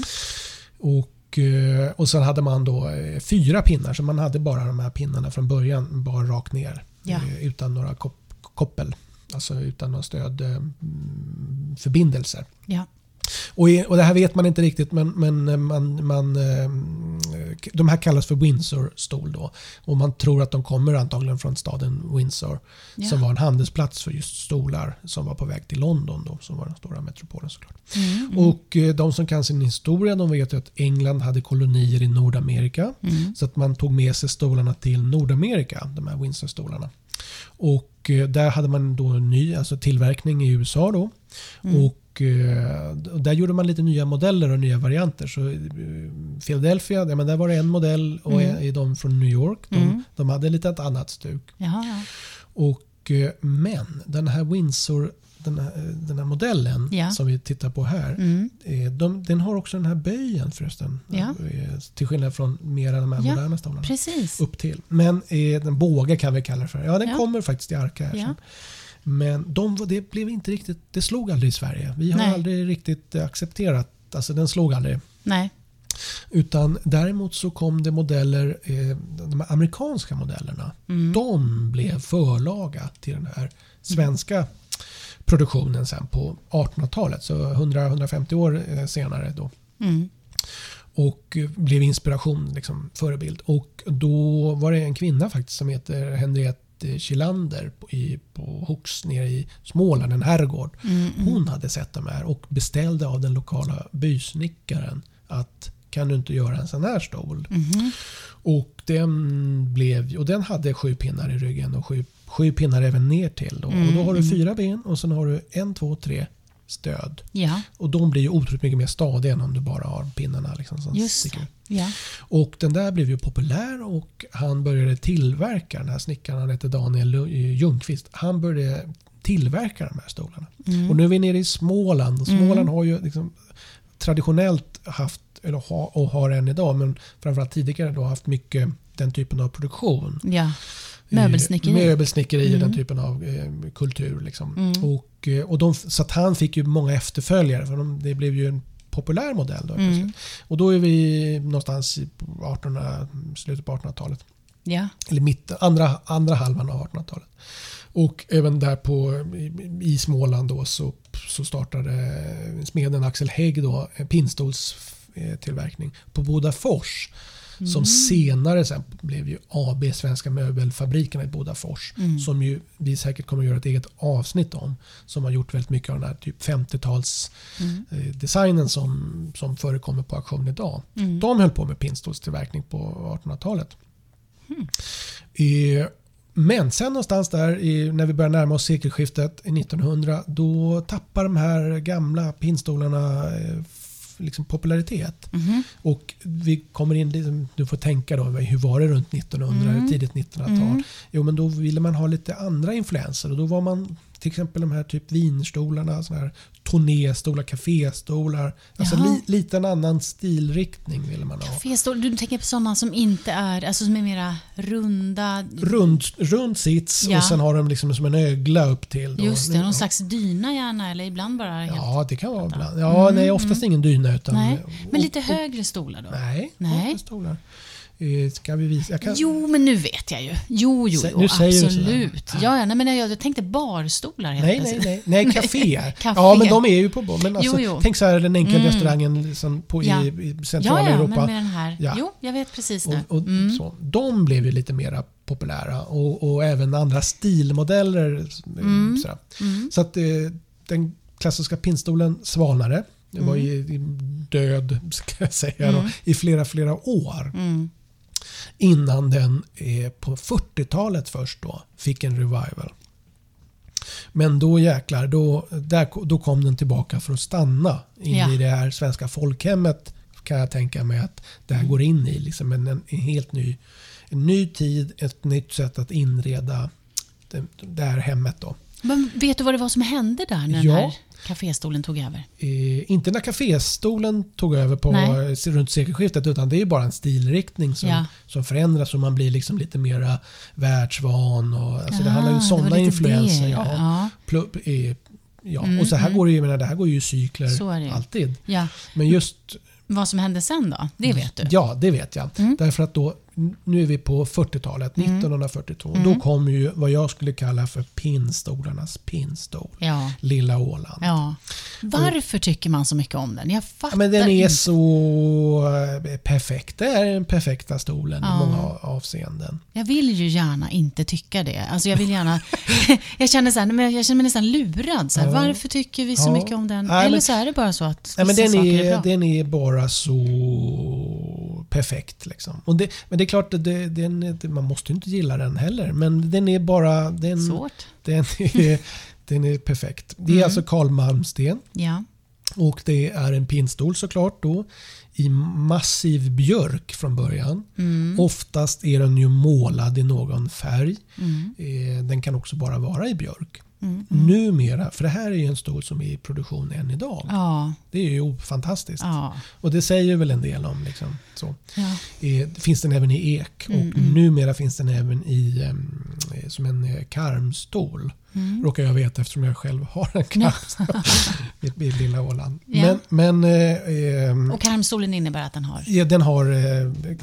Speaker 2: Och, eh, och sen hade man då eh, fyra pinnar, så man hade bara de här pinnarna från början, bara rakt ner.
Speaker 1: Ja.
Speaker 2: eh, Utan några kop koppel, alltså utan några mm, stödförbindelser.
Speaker 1: Ja.
Speaker 2: Och, i- och det här vet man inte riktigt men, men eh, man, man, eh, k- de här kallas för Windsor-stol. Då, och man tror att de kommer antagligen från staden Windsor
Speaker 1: Ja.
Speaker 2: som var en handelsplats för just stolar som var på väg till London då, som var den stora metropolen såklart.
Speaker 1: Mm.
Speaker 2: Och eh, de som kan sin historia de vet ju att England hade kolonier i Nordamerika.
Speaker 1: Mm.
Speaker 2: Så att man tog med sig stolarna till Nordamerika, de här Windsor-stolarna. Och eh, där hade man då en ny alltså tillverkning i USA. Då.
Speaker 1: Mm.
Speaker 2: Och eh, d- där gjorde man lite nya modeller och nya varianter. Så eh, Philadelphia, ja, men där var det en modell och
Speaker 1: Mm.
Speaker 2: en- de från New York. De,
Speaker 1: Mm.
Speaker 2: de hade lite ett annat stuk.
Speaker 1: Jaha, ja.
Speaker 2: Och, eh, men den här Windsor, den här, eh, den här modellen
Speaker 1: Ja.
Speaker 2: som vi tittar på här.
Speaker 1: Mm.
Speaker 2: Eh, De, den har också den här böjen förresten.
Speaker 1: Ja.
Speaker 2: Eh, Till skillnad från mera de här
Speaker 1: Ja,
Speaker 2: moderna stolarna.
Speaker 1: Precis.
Speaker 2: Upp till. Men eh, den båge kan vi kalla det för. Ja, den
Speaker 1: Ja.
Speaker 2: kommer faktiskt i Arka här
Speaker 1: Ja.
Speaker 2: sen. Men de, var- det blev inte riktigt, det slog aldrig i Sverige. Vi har
Speaker 1: Nej.
Speaker 2: aldrig riktigt eh, accepterat, alltså den slog aldrig.
Speaker 1: Nej.
Speaker 2: Utan däremot så kom det modeller, eh, de här amerikanska modellerna.
Speaker 1: Mm.
Speaker 2: De blev förlaga till den här svenska produktionen sen på 1800-talet. Så 100-150 år eh, senare då.
Speaker 1: Mm.
Speaker 2: Och eh, blev inspiration, liksom, förebild. Och då var det en kvinna faktiskt som heter Henriette Kilander på, i, på Horts nere i Småland, en herrgård.
Speaker 1: Mm. Mm.
Speaker 2: Hon hade sett de här och beställde av den lokala bysnickaren att kan du inte göra en sån här stol?
Speaker 1: Mhm.
Speaker 2: Och den, blev, och den hade sju pinnar i ryggen och sju, sju pinnar även ner till. Då. och då har
Speaker 1: Mm,
Speaker 2: du fyra ben och sen har du en, två, tre stöd.
Speaker 1: Ja,
Speaker 2: Och de blir ju otroligt mycket mer stadiga än om du bara har pinnarna liksom som
Speaker 1: just
Speaker 2: sticker
Speaker 1: det.
Speaker 2: ut.
Speaker 1: Ja.
Speaker 2: Och den där blev ju populär och han började tillverka den här snickaren, han hette Daniel Lu- Ljungqvist. Han började tillverka de här stolarna.
Speaker 1: Mm.
Speaker 2: Och nu är vi nere i Småland och Småland har ju liksom traditionellt haft, eller ha, och har än idag, men framförallt tidigare då haft mycket den typen av produktion.
Speaker 1: ja. Möbelsnickeri.
Speaker 2: Eh, Möbelsnickeri och den typen av eh, kultur. Liksom. Och, eh, och de, f- så att han fick ju många efterföljare för de, det blev ju en populär modell. Då, plötsligt. Och då är vi någonstans i 1800, slutet på 1800-talet.
Speaker 1: ja.
Speaker 2: Eller mitten, andra, andra halvan av 1800-talet. Och även där på, i Småland då, så, så startade smeden Axel Hägg då, en pinnstolstillverkning på Bodafors. Som senare sen blev ju AB Svenska Möbelfabrikerna i Bodafors. Som ju vi säkert kommer att göra ett eget avsnitt om. Som har gjort väldigt mycket av den här typ 50-tals eh, designen som, som förekommer på auktion idag. De höll på med pinnstolstillverkning på 1800-talet. Eh, men sen någonstans där i, när vi börjar närma oss sekelskiftet i 1900 då tappar de här gamla pinnstolarna eh, f- liksom popularitet. Och vi kommer in, liksom, du får tänka då, hur var det runt 1900, eller tidigt 1900-tal? Jo men då ville man ha lite andra influenser och då var man till exempel de här typ vinstolarna, såna här turnéstolar, kaféstolar. Alltså
Speaker 1: Jaha.
Speaker 2: li, lite en annan stilriktning ville man ha.
Speaker 1: Festol, du tänker på sådana som inte är, alltså som är mera runda.
Speaker 2: Rund, rund sits
Speaker 1: Ja.
Speaker 2: och sen har de liksom som en ögla upp till. då.
Speaker 1: Just det,
Speaker 2: Ja.
Speaker 1: någon slags dyna gärna eller ibland bara helt... Mm.
Speaker 2: Ja, det kan vara ibland. Ja, nej, oftast ingen dyna. Utan,
Speaker 1: nej. Men
Speaker 2: och-
Speaker 1: lite högre stolar då?
Speaker 2: Nej,
Speaker 1: Nej.
Speaker 2: oftast stolar. Eh, Ska vi visa? Jag kan,
Speaker 1: Jo, men nu vet jag ju. Jo, jo,
Speaker 2: Sä-
Speaker 1: jo
Speaker 2: nu säger du
Speaker 1: absolut. Ja, ja, nej, men jag, jag tänkte barstolar helt
Speaker 2: nej, nej,
Speaker 1: plötsligt.
Speaker 2: nej. Nej, kaféer.
Speaker 1: Kafé.
Speaker 2: Ja, men de är ju på men alltså,
Speaker 1: jo. Mm.
Speaker 2: Tänk så här den enkla restaurangen liksom på,
Speaker 1: Ja.
Speaker 2: i, i
Speaker 1: Ja,
Speaker 2: centrala
Speaker 1: ja, men
Speaker 2: Europa.
Speaker 1: med den här.
Speaker 2: Ja.
Speaker 1: Jo, jag vet precis nu.
Speaker 2: Och, och, så. De blev ju lite mera populära och, och även andra stilmodeller. eh, Sådär. Så att eh, den klassiska pinnstolen svalnade. Det var ju i- död ska jag säga, då, i flera, flera år.
Speaker 1: Mm.
Speaker 2: Innan den eh, på 40-talet först då fick en revival. Men då jäklar, då, där, då kom den tillbaka för att stanna in
Speaker 1: Ja.
Speaker 2: i det här svenska folkhemmet kan jag tänka mig att det här går in i. Liksom en, en, en helt ny, en ny tid, ett nytt sätt att inreda det, det här hemmet. Då.
Speaker 1: Men vet du vad det var som hände där när
Speaker 2: Ja.
Speaker 1: den här kaféstolen tog över?
Speaker 2: Eh, inte när kaféstolen tog över på,
Speaker 1: Nej.
Speaker 2: runt sekelskiftet utan det är ju bara en stilriktning som,
Speaker 1: Ja.
Speaker 2: som förändras och man blir liksom lite mera världsvan. Och, alltså det
Speaker 1: Ah,
Speaker 2: handlar ju om
Speaker 1: det var
Speaker 2: sådana
Speaker 1: lite
Speaker 2: influenser.
Speaker 1: det,
Speaker 2: Ja.
Speaker 1: ja. Mm,
Speaker 2: Plu- eh, ja. och så här går det ju, jag menar, det här går ju i cykler
Speaker 1: Så är det ju.
Speaker 2: alltid.
Speaker 1: Ja.
Speaker 2: Men just
Speaker 1: Vad som hände sen då? Det vet du? Mm.
Speaker 2: Ja, det vet jag. Därför att då, nu är vi på 40-talet, 1942.
Speaker 1: Mm.
Speaker 2: Då kom ju vad jag skulle kalla för pinnstolarnas pinnstol.
Speaker 1: Ja.
Speaker 2: Lilla Åland.
Speaker 1: ja. Varför tycker man så mycket om den? Jag fattar
Speaker 2: Ja, men den är
Speaker 1: inte.
Speaker 2: så eh, perfekt. Det är den perfekta stolen i många avseenden.
Speaker 1: Jag vill ju gärna inte tycka det. Alltså jag vill gärna... jag, känner så här, nej, men jag känner mig nästan lurad. Så här, Varför tycker vi så
Speaker 2: Ja.
Speaker 1: mycket om den?
Speaker 2: Nej,
Speaker 1: Eller
Speaker 2: men-
Speaker 1: så är det bara så att
Speaker 2: Nej, men
Speaker 1: vissa
Speaker 2: den,
Speaker 1: saker är,
Speaker 2: är,
Speaker 1: bra.
Speaker 2: den är bara så perfekt. Liksom. Och det, men det är klart, att det, den, är- man måste ju inte gilla den heller. Men den är bara... Den,
Speaker 1: Svårt.
Speaker 2: Den, är, den är perfekt. Det är
Speaker 1: Mm.
Speaker 2: alltså Karl Malmsten.
Speaker 1: Ja.
Speaker 2: Och det är en pinnstol såklart då i massiv björk från början.
Speaker 1: Mm.
Speaker 2: Oftast är den ju målad i någon färg.
Speaker 1: Mm.
Speaker 2: Eh, Den kan också bara vara i björk. Numera, för det här är ju en stol som är i produktion än idag.
Speaker 1: Ja.
Speaker 2: Det är ju fantastiskt.
Speaker 1: Ja.
Speaker 2: Och det säger väl en del om. Liksom, så.
Speaker 1: ja.
Speaker 2: Eh, finns den även i ek
Speaker 1: Mm,
Speaker 2: och numera finns den även i em, eh, som en eh, karmstol.
Speaker 1: Mm.
Speaker 2: Råkar jag veta eftersom jag själv har en karmstol i, i lilla Åland.
Speaker 1: Ja.
Speaker 2: Men, men eh, ehm,
Speaker 1: Och karmstolen innebär att den har
Speaker 2: ja, den har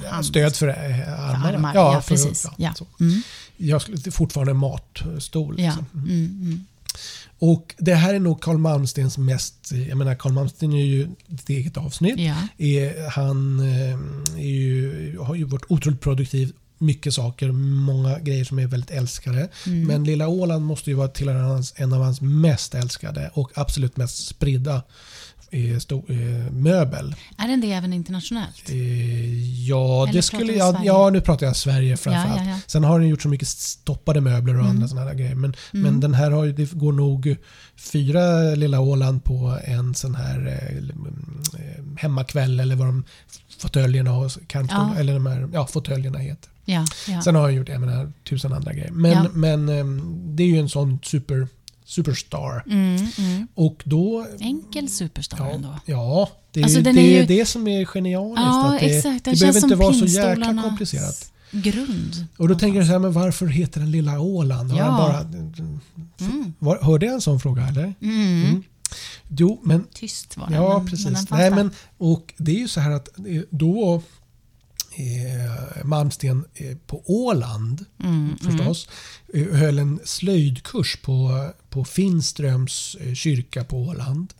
Speaker 2: eh, stöd för eh,
Speaker 1: armar.
Speaker 2: armarna.
Speaker 1: armar. Ja,
Speaker 2: för-
Speaker 1: precis.
Speaker 2: ja,
Speaker 1: Ja.
Speaker 2: så.
Speaker 1: Mm.
Speaker 2: Jag skulle, det är fortfarande en matstol.
Speaker 1: Ja.
Speaker 2: Liksom.
Speaker 1: Mm, mm.
Speaker 2: Och det här är nog Carl Malmstens mest, jag menar Carl Malmsten är ju ett eget avsnitt.
Speaker 1: Ja.
Speaker 2: Är, han eh, är ju, har ju varit otroligt produktiv, mycket saker, många grejer som är väldigt älskade. Men Lilla Åland måste ju vara till hans, en av hans mest älskade och absolut mest spridda eh, sto, eh, möbel.
Speaker 1: Är den det även internationellt?
Speaker 2: Eh, ja,
Speaker 1: Eller
Speaker 2: det
Speaker 1: pratar
Speaker 2: skulle
Speaker 1: du
Speaker 2: jag,
Speaker 1: Sverige?
Speaker 2: ja, nu pratar jag Sverige framförallt.
Speaker 1: ja, Mm. ja.
Speaker 2: Sen har den gjort så mycket stoppade möbler och andra sådana här grejer. Men,
Speaker 1: Mm.
Speaker 2: men den här har, ju- det går nog fyra Lilla Åland på en sån här eh, eh, hemmakväll eller vad de fåtöljerna och kantstolarna,
Speaker 1: Ja.
Speaker 2: eller de här ja, fåtöljerna heter.
Speaker 1: Ja, ja.
Speaker 2: Sen har han gjort jag menar, tusen andra grejer. Men,
Speaker 1: Ja.
Speaker 2: men ehm, det är ju en sån super, superstar.
Speaker 1: Mm, mm.
Speaker 2: Och då...
Speaker 1: Enkel superstar ändå.
Speaker 2: Ja, ja det, är
Speaker 1: Alltså,
Speaker 2: ju, det
Speaker 1: den
Speaker 2: är
Speaker 1: är
Speaker 2: ju
Speaker 1: ju-
Speaker 2: det som är genialiskt.
Speaker 1: Ja,
Speaker 2: att det,
Speaker 1: exakt. Den
Speaker 2: det
Speaker 1: känns
Speaker 2: behöver
Speaker 1: som
Speaker 2: inte vara så jäkla
Speaker 1: pinnstolarnas
Speaker 2: komplicerat.
Speaker 1: grund.
Speaker 2: Och då tänker jag så här, men varför heter den Lilla Åland? Har
Speaker 1: Ja.
Speaker 2: han bara, var, hörde jag en sån fråga eller?
Speaker 1: Mm.
Speaker 2: Jo, men
Speaker 1: Tyst var den.
Speaker 2: Ja,
Speaker 1: men-
Speaker 2: precis.
Speaker 1: Men den fanns
Speaker 2: Nej,
Speaker 1: där.
Speaker 2: men, och det är ju så här att eh, då eh, Malmsten eh, på Åland
Speaker 1: Mm,
Speaker 2: förstås. eh, Höll en slöjdkurs på, på Finströms eh, kyrka på Åland.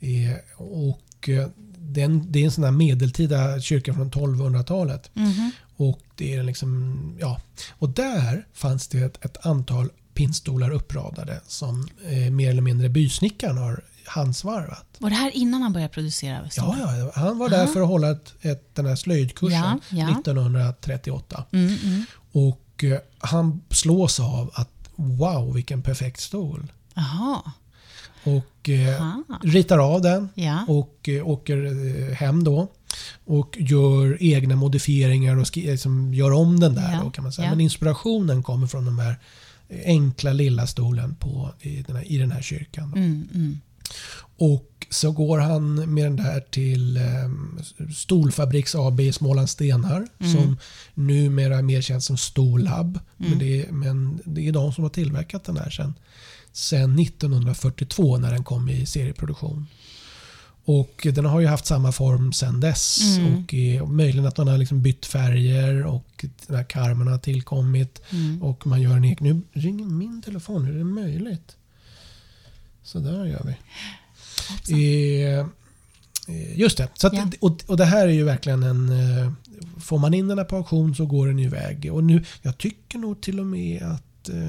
Speaker 2: Eh, och eh, den, det är en sån där medeltida kyrka från 1200-talet.
Speaker 1: Mhm.
Speaker 2: Och det är liksom, ja. Och där fanns det ett, ett antal pinnstolar uppradade som eh, mer eller mindre bysnickaren har handsvarvat.
Speaker 1: Var det här innan han började producera?
Speaker 2: Ja,
Speaker 1: stolar?
Speaker 2: ja, han var där för att hålla ett, ett, den här slöjdkursen
Speaker 1: Ja, ja.
Speaker 2: 1938.
Speaker 1: Mm, mm.
Speaker 2: Och eh, han slås av att wow vilken perfekt stol.
Speaker 1: Jaha.
Speaker 2: Och eh,
Speaker 1: Ah.
Speaker 2: ritar av den
Speaker 1: Ja.
Speaker 2: och eh, åker eh, hem då. Och gör egna modifieringar och skri- liksom gör om den där.
Speaker 1: Ja,
Speaker 2: Då, kan man säga.
Speaker 1: ja.
Speaker 2: Men inspirationen kommer från den här eh, enkla lilla stolen på, i, den här, i den här kyrkan. Då.
Speaker 1: Mm, mm.
Speaker 2: Och så går han med den där till eh, Stolfabriks AB i Småland Stenar som numera mer känns som Stolab. Men, det är, men det är de som har tillverkat den här sedan, sedan 1942 när den kom i serieproduktion. Och den har ju haft samma form sedan dess.
Speaker 1: Mm.
Speaker 2: Och är, och möjligen att man har liksom bytt färger och den här karmen har tillkommit.
Speaker 1: Mm.
Speaker 2: Och man gör en egen... Nu ringer min telefon, hur är det möjligt? Så där gör vi.
Speaker 1: Hoppsan.
Speaker 2: Eh, eh, Just det. Så att,
Speaker 1: Ja.
Speaker 2: och, och det här är ju verkligen en... eh, Får man in den här på auktion så går den ju iväg. Och nu, jag tycker nog till och med att eh,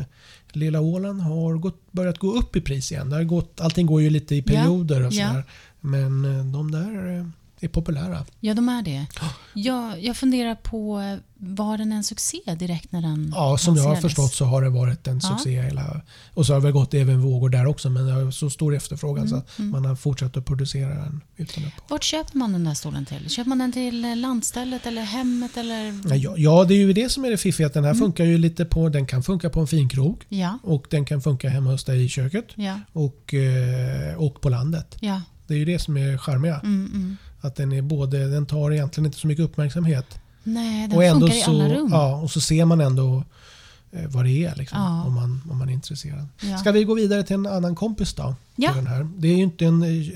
Speaker 2: Lilla Åland har gått, börjat gå upp i pris igen. Det har gått, allting går ju lite i
Speaker 1: Ja,
Speaker 2: perioder och
Speaker 1: ja.
Speaker 2: sådär. Men eh, de där eh, är populära.
Speaker 1: Ja, de är det. Jag, jag funderar på, eh, var den en succé direkt när den
Speaker 2: Ja, som jag har
Speaker 1: lanserades?
Speaker 2: förstått så har det varit en
Speaker 1: Ja.
Speaker 2: succé. Hela, och så har det väl gått även vågor där också. Men det har så stor efterfrågan
Speaker 1: Mm,
Speaker 2: så att man har fortsatt att producera den. Utan att
Speaker 1: Vart köper man den där stolen till? Köper man den till eh, lantstället eller hemmet? Eller...
Speaker 2: Nej, Ja, ja, det är ju det som är det fiffiga. att Den här
Speaker 1: Mm.
Speaker 2: funkar ju lite på, den kan funka på en finkrog
Speaker 1: Ja,
Speaker 2: och den kan funka hemma hos dig i köket
Speaker 1: ja,
Speaker 2: och, eh, och på landet.
Speaker 1: ja.
Speaker 2: Det är ju det som är charmiga.
Speaker 1: Mm, mm.
Speaker 2: Att den, är både, den tar egentligen inte så mycket uppmärksamhet.
Speaker 1: Nej, den
Speaker 2: och ändå
Speaker 1: funkar i
Speaker 2: så,
Speaker 1: alla rum.
Speaker 2: Ja, och så ser man ändå eh, vad det är liksom,
Speaker 1: Ja.
Speaker 2: om, man, om man är intresserad.
Speaker 1: Ja.
Speaker 2: Ska vi gå vidare till en annan kompis då?
Speaker 1: Ja.
Speaker 2: Till den här. Det är ju inte en... eh,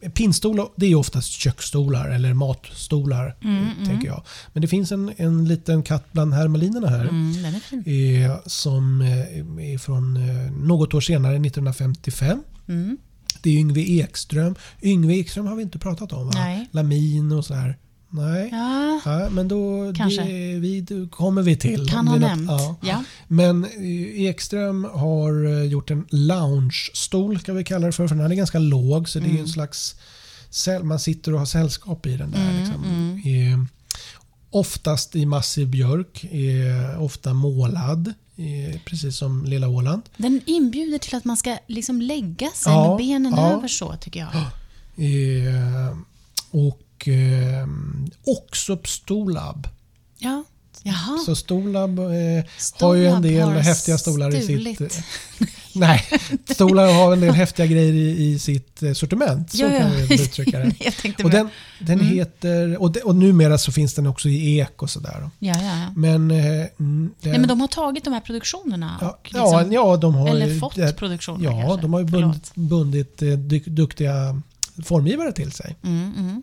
Speaker 2: en Pinnstol det är ju oftast köksstolar eller matstolar.
Speaker 1: Mm,
Speaker 2: eh, tänker jag. Men det finns en, en liten katt bland hermelinerna här.
Speaker 1: Mm, den är fin.
Speaker 2: Eh, som eh, är från eh, något år senare, 1955.
Speaker 1: Mm.
Speaker 2: Det är Yngve Ekström. Yngve Ekström har vi inte pratat om va?
Speaker 1: Nej.
Speaker 2: Lamin och sådär. Nej.
Speaker 1: Ja,
Speaker 2: Ja, men då
Speaker 1: Kanske.
Speaker 2: Det, vi, då kommer vi till.
Speaker 1: kan
Speaker 2: Om
Speaker 1: ha
Speaker 2: det är
Speaker 1: nämnt.
Speaker 2: något-
Speaker 1: Ja.
Speaker 2: Ja. Men eh, Ekström har eh, gjort en loungestol ska vi kalla det för. för den här är ganska låg så det är
Speaker 1: Mm.
Speaker 2: ju en slags säll- man sitter och har sällskap i den där.
Speaker 1: Mm,
Speaker 2: liksom. Eh, oftast i massiv björk, eh, ofta målad. eh, Precis som Lilla Åland.
Speaker 1: Den inbjuder till att man ska liksom lägga sig
Speaker 2: Ja,
Speaker 1: med benen
Speaker 2: ja.
Speaker 1: över så tycker jag.
Speaker 2: Eh, Och eh, också Stolab.
Speaker 1: Ja. Jaha.
Speaker 2: Så Stolab eh, har ju en del
Speaker 1: Stolab har
Speaker 2: häftiga stolar i sitt...
Speaker 1: stulit.
Speaker 2: eh, Nej, Stolar har en del häftiga grejer i, i sitt eh, sortiment. Så
Speaker 1: Ja, ja.
Speaker 2: kan vi väl uttrycka det.
Speaker 1: jag tänkte
Speaker 2: Och
Speaker 1: med. Mm.
Speaker 2: den, den heter, och, de, och numera så finns den också i ek och sådär. då.
Speaker 1: Ja, ja, ja.
Speaker 2: Men, eh, mm, den,
Speaker 1: Nej, men de har tagit de här produktionerna
Speaker 2: ja,
Speaker 1: och liksom,
Speaker 2: ja, de har
Speaker 1: eller
Speaker 2: ju-
Speaker 1: fått
Speaker 2: det-
Speaker 1: produktionerna
Speaker 2: Ja,
Speaker 1: kanske.
Speaker 2: de har ju
Speaker 1: Förlåt.
Speaker 2: bundit, bundit eh, dyk- duktiga formgivare till sig.
Speaker 1: Mm, mm.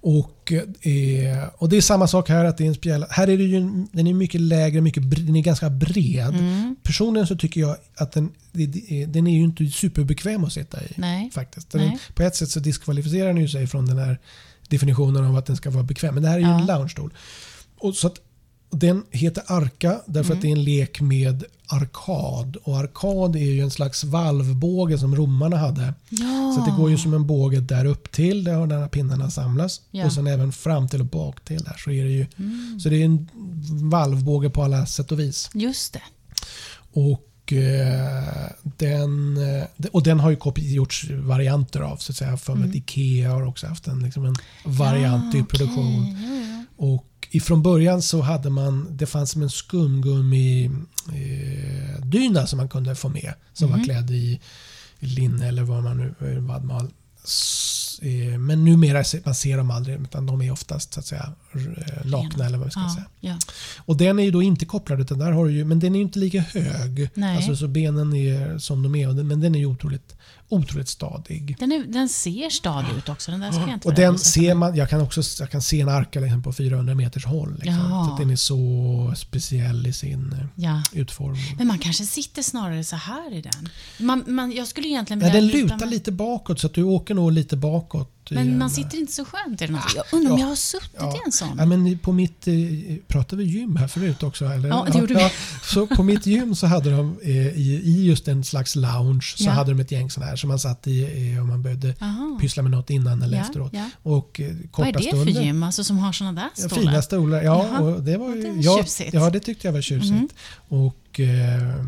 Speaker 2: Och, eh, och det är samma sak här. att det är en spjäll, Här är det ju, en- den är mycket lägre, mycket, bre- den är ganska bred.
Speaker 1: mm.
Speaker 2: Personligen så tycker jag att den, det- det är- den är ju inte superbekväm att sitta i.
Speaker 1: Nej.
Speaker 2: Faktiskt. Den,
Speaker 1: Nej.
Speaker 2: På ett sätt så diskvalificerar den ju sig från den här definitionen av att den ska vara bekväm. Men det här är ju en
Speaker 1: Ja.
Speaker 2: loungestol. Och så att, den heter Arka därför
Speaker 1: Mm.
Speaker 2: att det är en lek med arkad. Och arkad är ju en slags valvbåge som romarna hade.
Speaker 1: Ja.
Speaker 2: Så att det går ju som en båge där upp till där de här pinnarna samlas.
Speaker 1: Ja. Mm.
Speaker 2: Och sen även fram till och bak till där. Så, är det ju, så det är en valvbåge på alla sätt och vis.
Speaker 1: Just det.
Speaker 2: Och, eh, den, eh, och den har ju kopi- gjorts varianter av. Så att säga. För mig att Ikea har också haft en, liksom en variant
Speaker 1: Mm. Ja,
Speaker 2: i produktion.
Speaker 1: okej. Ja, ja.
Speaker 2: Och ifrån början så hade man, det fanns som en skumgummi eh, dyna som man
Speaker 1: Mm.
Speaker 2: kunde få med. Som var klädd i linne eller vad man nu vad man s- eh, men numera ser man ser dem aldrig utan de är oftast så att säga r- eh, nakna eller vad vi ska
Speaker 1: ja,
Speaker 2: säga.
Speaker 1: ja.
Speaker 2: Och den är ju då inte kopplad utan där har du ju, men den är ju inte lika hög.
Speaker 1: Nej.
Speaker 2: Alltså så benen är som de är och den- men den är ju otroligt, otroligt stadig.
Speaker 1: Den, är, den ser stadig ut också. Den där ska jag inte
Speaker 2: Och
Speaker 1: börja
Speaker 2: den
Speaker 1: visa.
Speaker 2: ser man, jag kan också jag kan se en arka liksom på 400 meters håll. Liksom,
Speaker 1: Jaha.
Speaker 2: för att den är så speciell i sin eh,
Speaker 1: Ja.
Speaker 2: utformning.
Speaker 1: Men man kanske sitter snarare så här i den. Man, man, jag skulle egentligen
Speaker 2: Ja,
Speaker 1: vilja
Speaker 2: den
Speaker 1: byta
Speaker 2: lutar
Speaker 1: med-
Speaker 2: lite bakåt så att du åker nog lite bakåt. i
Speaker 1: Men
Speaker 2: den
Speaker 1: man
Speaker 2: där. Ah,
Speaker 1: sitter inte så skönt i den. Jag undrar om jag har suttit i en sån.
Speaker 2: Ja, men på mitt, eh, pratade vi gym här förut också? Eller?
Speaker 1: Ja, det gjorde vi.
Speaker 2: så på mitt gym så hade de eh, i, i just en slags lounge så
Speaker 1: Ja.
Speaker 2: hade de ett gäng sådana här som man satt i eh, om man behövde
Speaker 1: Aha.
Speaker 2: pyssla med något innan eller
Speaker 1: Ja,
Speaker 2: efteråt.
Speaker 1: ja.
Speaker 2: Och eh, korta
Speaker 1: Vad är det för
Speaker 2: stunder.
Speaker 1: gym alltså, som har såna där
Speaker 2: Ja,
Speaker 1: stolar?
Speaker 2: Fina stolar. Ja,
Speaker 1: Jaha.
Speaker 2: och det var ju,
Speaker 1: Ja, det är
Speaker 2: ja,
Speaker 1: tjusigt. Mm-hmm.
Speaker 2: ja, det tyckte jag var tjusigt. Och, eh,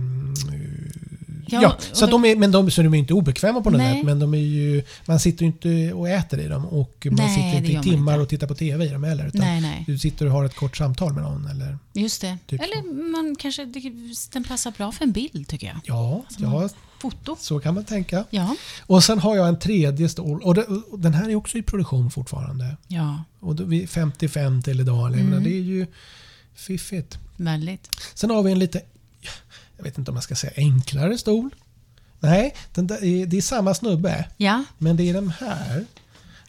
Speaker 2: ja,
Speaker 1: och
Speaker 2: så, att
Speaker 1: då-
Speaker 2: de är, men de, så de är inte obekväma på något
Speaker 1: Nej.
Speaker 2: sätt. Men de är ju, man sitter ju inte och äter i dem och man
Speaker 1: Nej,
Speaker 2: sitter
Speaker 1: det
Speaker 2: inte
Speaker 1: gör
Speaker 2: i
Speaker 1: man
Speaker 2: timmar
Speaker 1: inte.
Speaker 2: och tittar på TV i dem heller. Utan
Speaker 1: Nej, nej.
Speaker 2: Du sitter och har ett kort samtal med någon. Eller,
Speaker 1: Just det.
Speaker 2: Typ
Speaker 1: Eller man kanske, den passar bra för en bild tycker jag.
Speaker 2: ja,
Speaker 1: Alltså,
Speaker 2: ja,
Speaker 1: Foto.
Speaker 2: så kan man tänka.
Speaker 1: Ja.
Speaker 2: Och sen har jag en tredje stol. Och, det, och den här är också i produktion fortfarande.
Speaker 1: Ja,
Speaker 2: Och då, vi är 55 till idag. eller Jag menar,
Speaker 1: Mm.
Speaker 2: det är ju fiffigt.
Speaker 1: väldigt.
Speaker 2: Sen har vi en lite, jag vet inte om man ska säga enklare stol. Nej, den där är, det är samma snubbe.
Speaker 1: Ja.
Speaker 2: Men det är den här.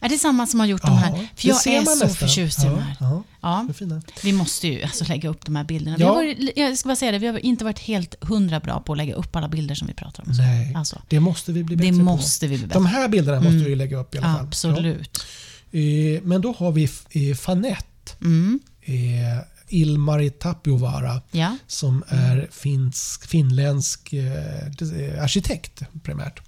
Speaker 1: Är det samma som har gjort de
Speaker 2: Ja,
Speaker 1: här?
Speaker 2: det
Speaker 1: För jag
Speaker 2: ser
Speaker 1: är
Speaker 2: man
Speaker 1: så
Speaker 2: nästan.
Speaker 1: förtjust i
Speaker 2: Ja,
Speaker 1: de här.
Speaker 2: ja.
Speaker 1: Ja.
Speaker 2: Den är fina.
Speaker 1: Vi måste ju alltså lägga upp de här bilderna. Vi
Speaker 2: Ja.
Speaker 1: har varit, jag ska bara säga det, vi har inte varit helt hundra bra på att lägga upp alla bilder som vi pratar om.
Speaker 2: Nej,
Speaker 1: Alltså,
Speaker 2: det måste vi bli bättre
Speaker 1: det
Speaker 2: på.
Speaker 1: måste vi bli bättre
Speaker 2: De här bilderna måste vi lägga upp i alla fall.
Speaker 1: Absolut.
Speaker 2: Ja. Eh, Men då har vi F- eh, Fanette.
Speaker 1: Mm.
Speaker 2: Eh, Ilmari Tapiovara.
Speaker 1: Ja.
Speaker 2: Som
Speaker 1: Mm.
Speaker 2: är finsk, finländsk eh, dis- eh, arkitekt primärt.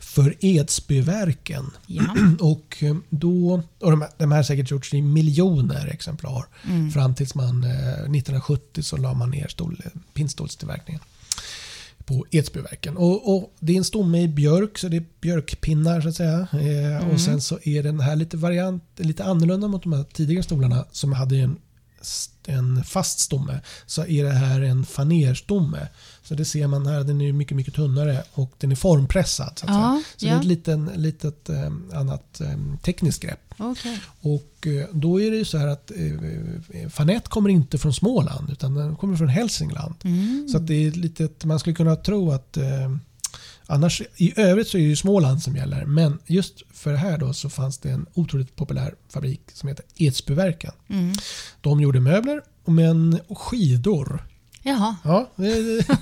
Speaker 2: För Edsbyverken.
Speaker 1: ja.
Speaker 2: Och eh, då, och de, här- de här har säkert gjorts i miljoner exemplar. Fram tills man eh, 1970 så la man ner stol, pinnstolstillverkningen på Edsbyverken. Och, och det är en stomme i björk, så det är björkpinnar så att säga. Eh, Och sen så är den här lite variant, lite annorlunda mot de här tidigare stolarna som hade en, en fast stomme. Så är det här en fanerstomme. Så det ser man här, den är ju mycket, mycket tunnare och den är formpressad. Så, att
Speaker 1: Ja,
Speaker 2: säga. Alltså, så
Speaker 1: ja.
Speaker 2: det är ett liten, litet eh, annat eh, tekniskt grepp.
Speaker 1: Okej.
Speaker 2: Och eh, då är det ju så här att eh, Fanette kommer inte från Småland utan den kommer från Hälsingland. Så att det är lite, att man skulle kunna tro att eh, annars i övrigt så är det ju Småland som gäller. Men just för det här då så fanns det en otroligt populär fabrik som heter Edsbyverken.
Speaker 1: Mm.
Speaker 2: De gjorde möbler men och skidor.
Speaker 1: Jaha.
Speaker 2: Ja, eh,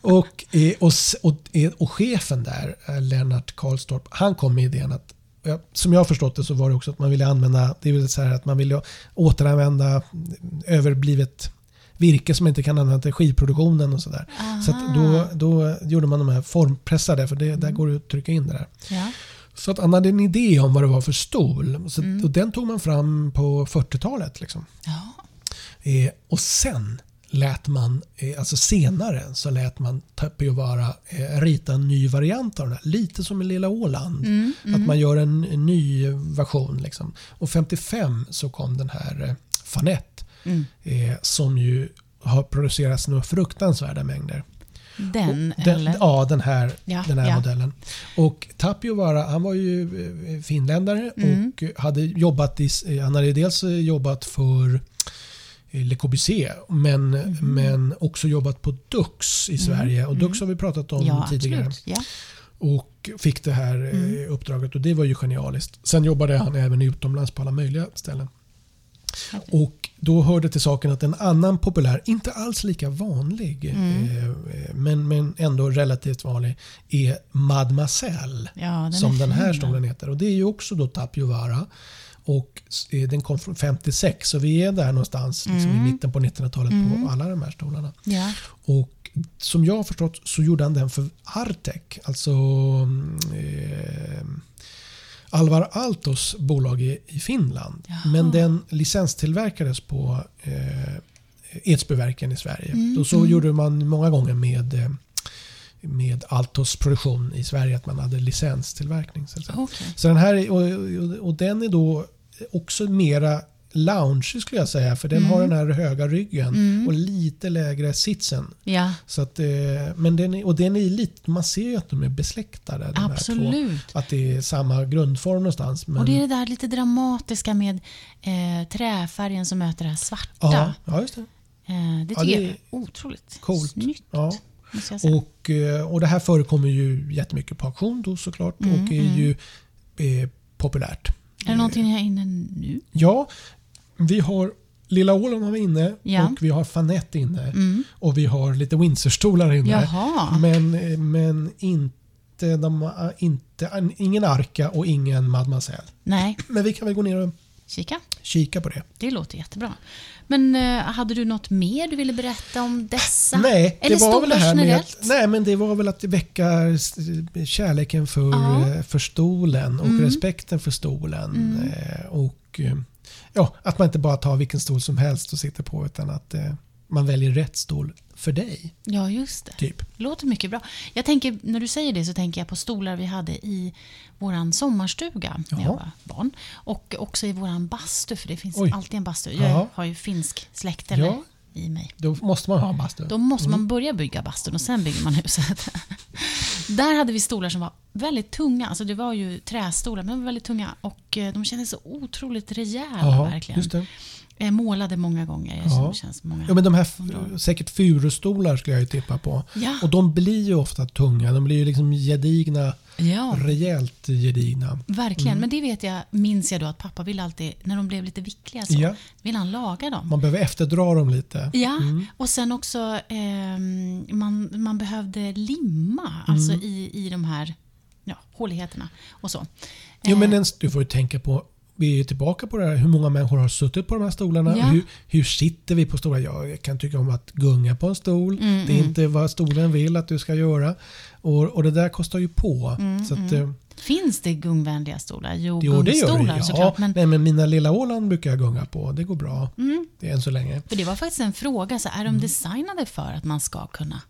Speaker 2: och, eh, och, s- och, eh, och chefen där, eh, Lennart Karlstorp, han kom med idén att ja, som jag har förstått det så var det också att man ville använda, det vill säga att man ville återanvända eh, överblivet virke som inte kan användas till skivproduktionen och sådär. Så att
Speaker 1: Ah.
Speaker 2: då, då gjorde man de här formpressade, för det, där går det att trycka in det där.
Speaker 1: Ja.
Speaker 2: Så att han hade en idé om vad det var för stol. Så, Och den tog man fram på 40-talet. Liksom.
Speaker 1: ja.
Speaker 2: Eh, och sen lät man, eh, alltså senare, så lät man Tapiovara eh, rita en ny variant av den här. Lite som i Lilla Åland. Att man gör en, en ny version. Liksom. Och 55 så kom den här eh, Fanette. Eh, som ju har producerats några fruktansvärda mängder.
Speaker 1: Den,
Speaker 2: Den,
Speaker 1: eller?
Speaker 2: ja, den här,
Speaker 1: Ja,
Speaker 2: den här
Speaker 1: ja.
Speaker 2: modellen. Och Tapiovara, han var ju eh, finländare
Speaker 1: Mm.
Speaker 2: och eh, hade jobbat i, eh, han hade dels eh, jobbat för eh, Le Corbusier men,
Speaker 1: Mm.
Speaker 2: men också jobbat på Dux i Sverige. Och Dux har vi pratat om
Speaker 1: Mm. ja,
Speaker 2: tidigare.
Speaker 1: absolut. Ja.
Speaker 2: Och fick det här eh,
Speaker 1: Mm.
Speaker 2: uppdraget och det var ju genialiskt. Sen jobbade han även utomlands på alla möjliga ställen.
Speaker 1: Häftigt.
Speaker 2: Och då hörde till saken att en annan populär, inte alls lika vanlig,
Speaker 1: Mm.
Speaker 2: eh, men, men ändå relativt vanlig, är Mademoiselle.
Speaker 1: Ja, den är
Speaker 2: som den här
Speaker 1: fin,
Speaker 2: stolen heter. Och det är ju också då Tapiovara. Och eh, den kom från 56, så vi är där någonstans liksom,
Speaker 1: Mm.
Speaker 2: i mitten på 1900-talet på alla de här stolarna.
Speaker 1: Ja.
Speaker 2: Och som jag har förstått så gjorde han den för Artec, alltså mm, eh, Alvar Aaltos bolag i, i Finland. Men den licenstillverkades på eh, Edsbyverken i Sverige. och så gjorde man många gånger med, eh, med Altos produktion i Sverige, att man hade licenstillverkning. Så, att säga.
Speaker 1: Okej.
Speaker 2: så den här är- och, och, och den är då också mera lounge skulle jag säga. För den har den här höga ryggen och lite lägre sitsen.
Speaker 1: Ja,
Speaker 2: Så att, eh, men den är, och den är lite, man ser ju att de är besläktade. de här två.
Speaker 1: absolut.
Speaker 2: Att det är samma grundform någonstans. Men,
Speaker 1: Och det är det där lite dramatiska med eh, träfärgen som möter det här svarta.
Speaker 2: ja, ja, just det.
Speaker 1: Eh, det
Speaker 2: Ja,
Speaker 1: tycker
Speaker 2: det
Speaker 1: jag
Speaker 2: är
Speaker 1: är otroligt
Speaker 2: coolt.
Speaker 1: snyggt.
Speaker 2: Ja.
Speaker 1: Måste jag säga.
Speaker 2: Och, eh, och det här förekommer ju jättemycket på auktion då såklart
Speaker 1: Mm,
Speaker 2: och är ju eh, populärt.
Speaker 1: är det någonting ni har inne nu?
Speaker 2: Ja, vi har Lilla Åland har vi inne
Speaker 1: Ja. Mm.
Speaker 2: och vi har Fanette inne. Och vi har lite Windsorstolar inne.
Speaker 1: Jaha.
Speaker 2: Men, eh, men inte, de, inte, ingen Arka och ingen Mademoiselle.
Speaker 1: Nej,
Speaker 2: Men vi kan väl gå ner och
Speaker 1: kika.
Speaker 2: kika på det.
Speaker 1: Det låter jättebra. Men eh, hade du något mer du ville berätta om dessa?
Speaker 2: Nej,
Speaker 1: Eller
Speaker 2: det var väl det
Speaker 1: stolar
Speaker 2: här med att,
Speaker 1: generellt?
Speaker 2: nej, men det var väl att väcka s- kärleken för,
Speaker 1: Ja. Mm.
Speaker 2: eh, för stolen och respekten för stolen. eh, Och eh, ja, Att man inte bara tar vilken stol som helst och sitter på utan att eh, man väljer rätt stol för dig.
Speaker 1: Ja, just det.
Speaker 2: Typ.
Speaker 1: Låter mycket bra. Jag tänker, när du säger det så tänker jag på stolar vi hade i vår sommarstuga när jag
Speaker 2: Jaha.
Speaker 1: var barn. Och också i vår bastu, för det finns
Speaker 2: Oj.
Speaker 1: alltid en bastu. Jag
Speaker 2: Jaha.
Speaker 1: har ju finsk släkt eller,
Speaker 2: Ja.
Speaker 1: i mig.
Speaker 2: Då måste man ha en bastu.
Speaker 1: Då måste
Speaker 2: Mm.
Speaker 1: man börja bygga bastun och sen bygger man huset. Där hade vi stolar som var väldigt tunga. Alltså det var ju trästolar, men de var väldigt tunga. Och eh, de kändes så otroligt rejäla
Speaker 2: Jaha,
Speaker 1: verkligen.
Speaker 2: just det.
Speaker 1: Eh, Målade många gånger.
Speaker 2: Ja.
Speaker 1: Det känns många.
Speaker 2: Ja, men de här f- säkert furustolar skulle jag ju tippa på.
Speaker 1: Ja.
Speaker 2: Och de blir ju ofta tunga. De blir ju liksom gedigna.
Speaker 1: Ja.
Speaker 2: Rejält gedigna.
Speaker 1: Verkligen,
Speaker 2: Mm.
Speaker 1: men det vet jag, minns jag då att pappa ville alltid, när de blev lite vickliga så,
Speaker 2: Ja.
Speaker 1: ville han laga dem.
Speaker 2: Man behöver efterdra dem lite.
Speaker 1: Ja, och sen också ehm, man, man behövde limma alltså
Speaker 2: Mm.
Speaker 1: i, i de här ja, håligheterna och så.
Speaker 2: Jo,
Speaker 1: Eh,
Speaker 2: men ens, du får ju tänka på, vi är ju tillbaka på det här, hur många människor har suttit på de här stolarna?
Speaker 1: Ja.
Speaker 2: Hur, hur sitter vi på stolar? Ja, Jag kan tycka om att gunga på en stol.
Speaker 1: Mm,
Speaker 2: det är inte vad stolen vill att du ska göra. Och, och det där kostar ju på.
Speaker 1: Mm,
Speaker 2: så att, eh,
Speaker 1: Finns det gungvänliga stolar? Jo,
Speaker 2: Jo, det gör det.
Speaker 1: gungstolar
Speaker 2: Ja.
Speaker 1: såklart. Men, Mm.
Speaker 2: Nej, men mina lilla Åland brukar jag gunga på. Det går bra. Det är än så länge.
Speaker 1: för det var faktiskt en fråga, så är
Speaker 2: Mm.
Speaker 1: de designade för att man ska kunna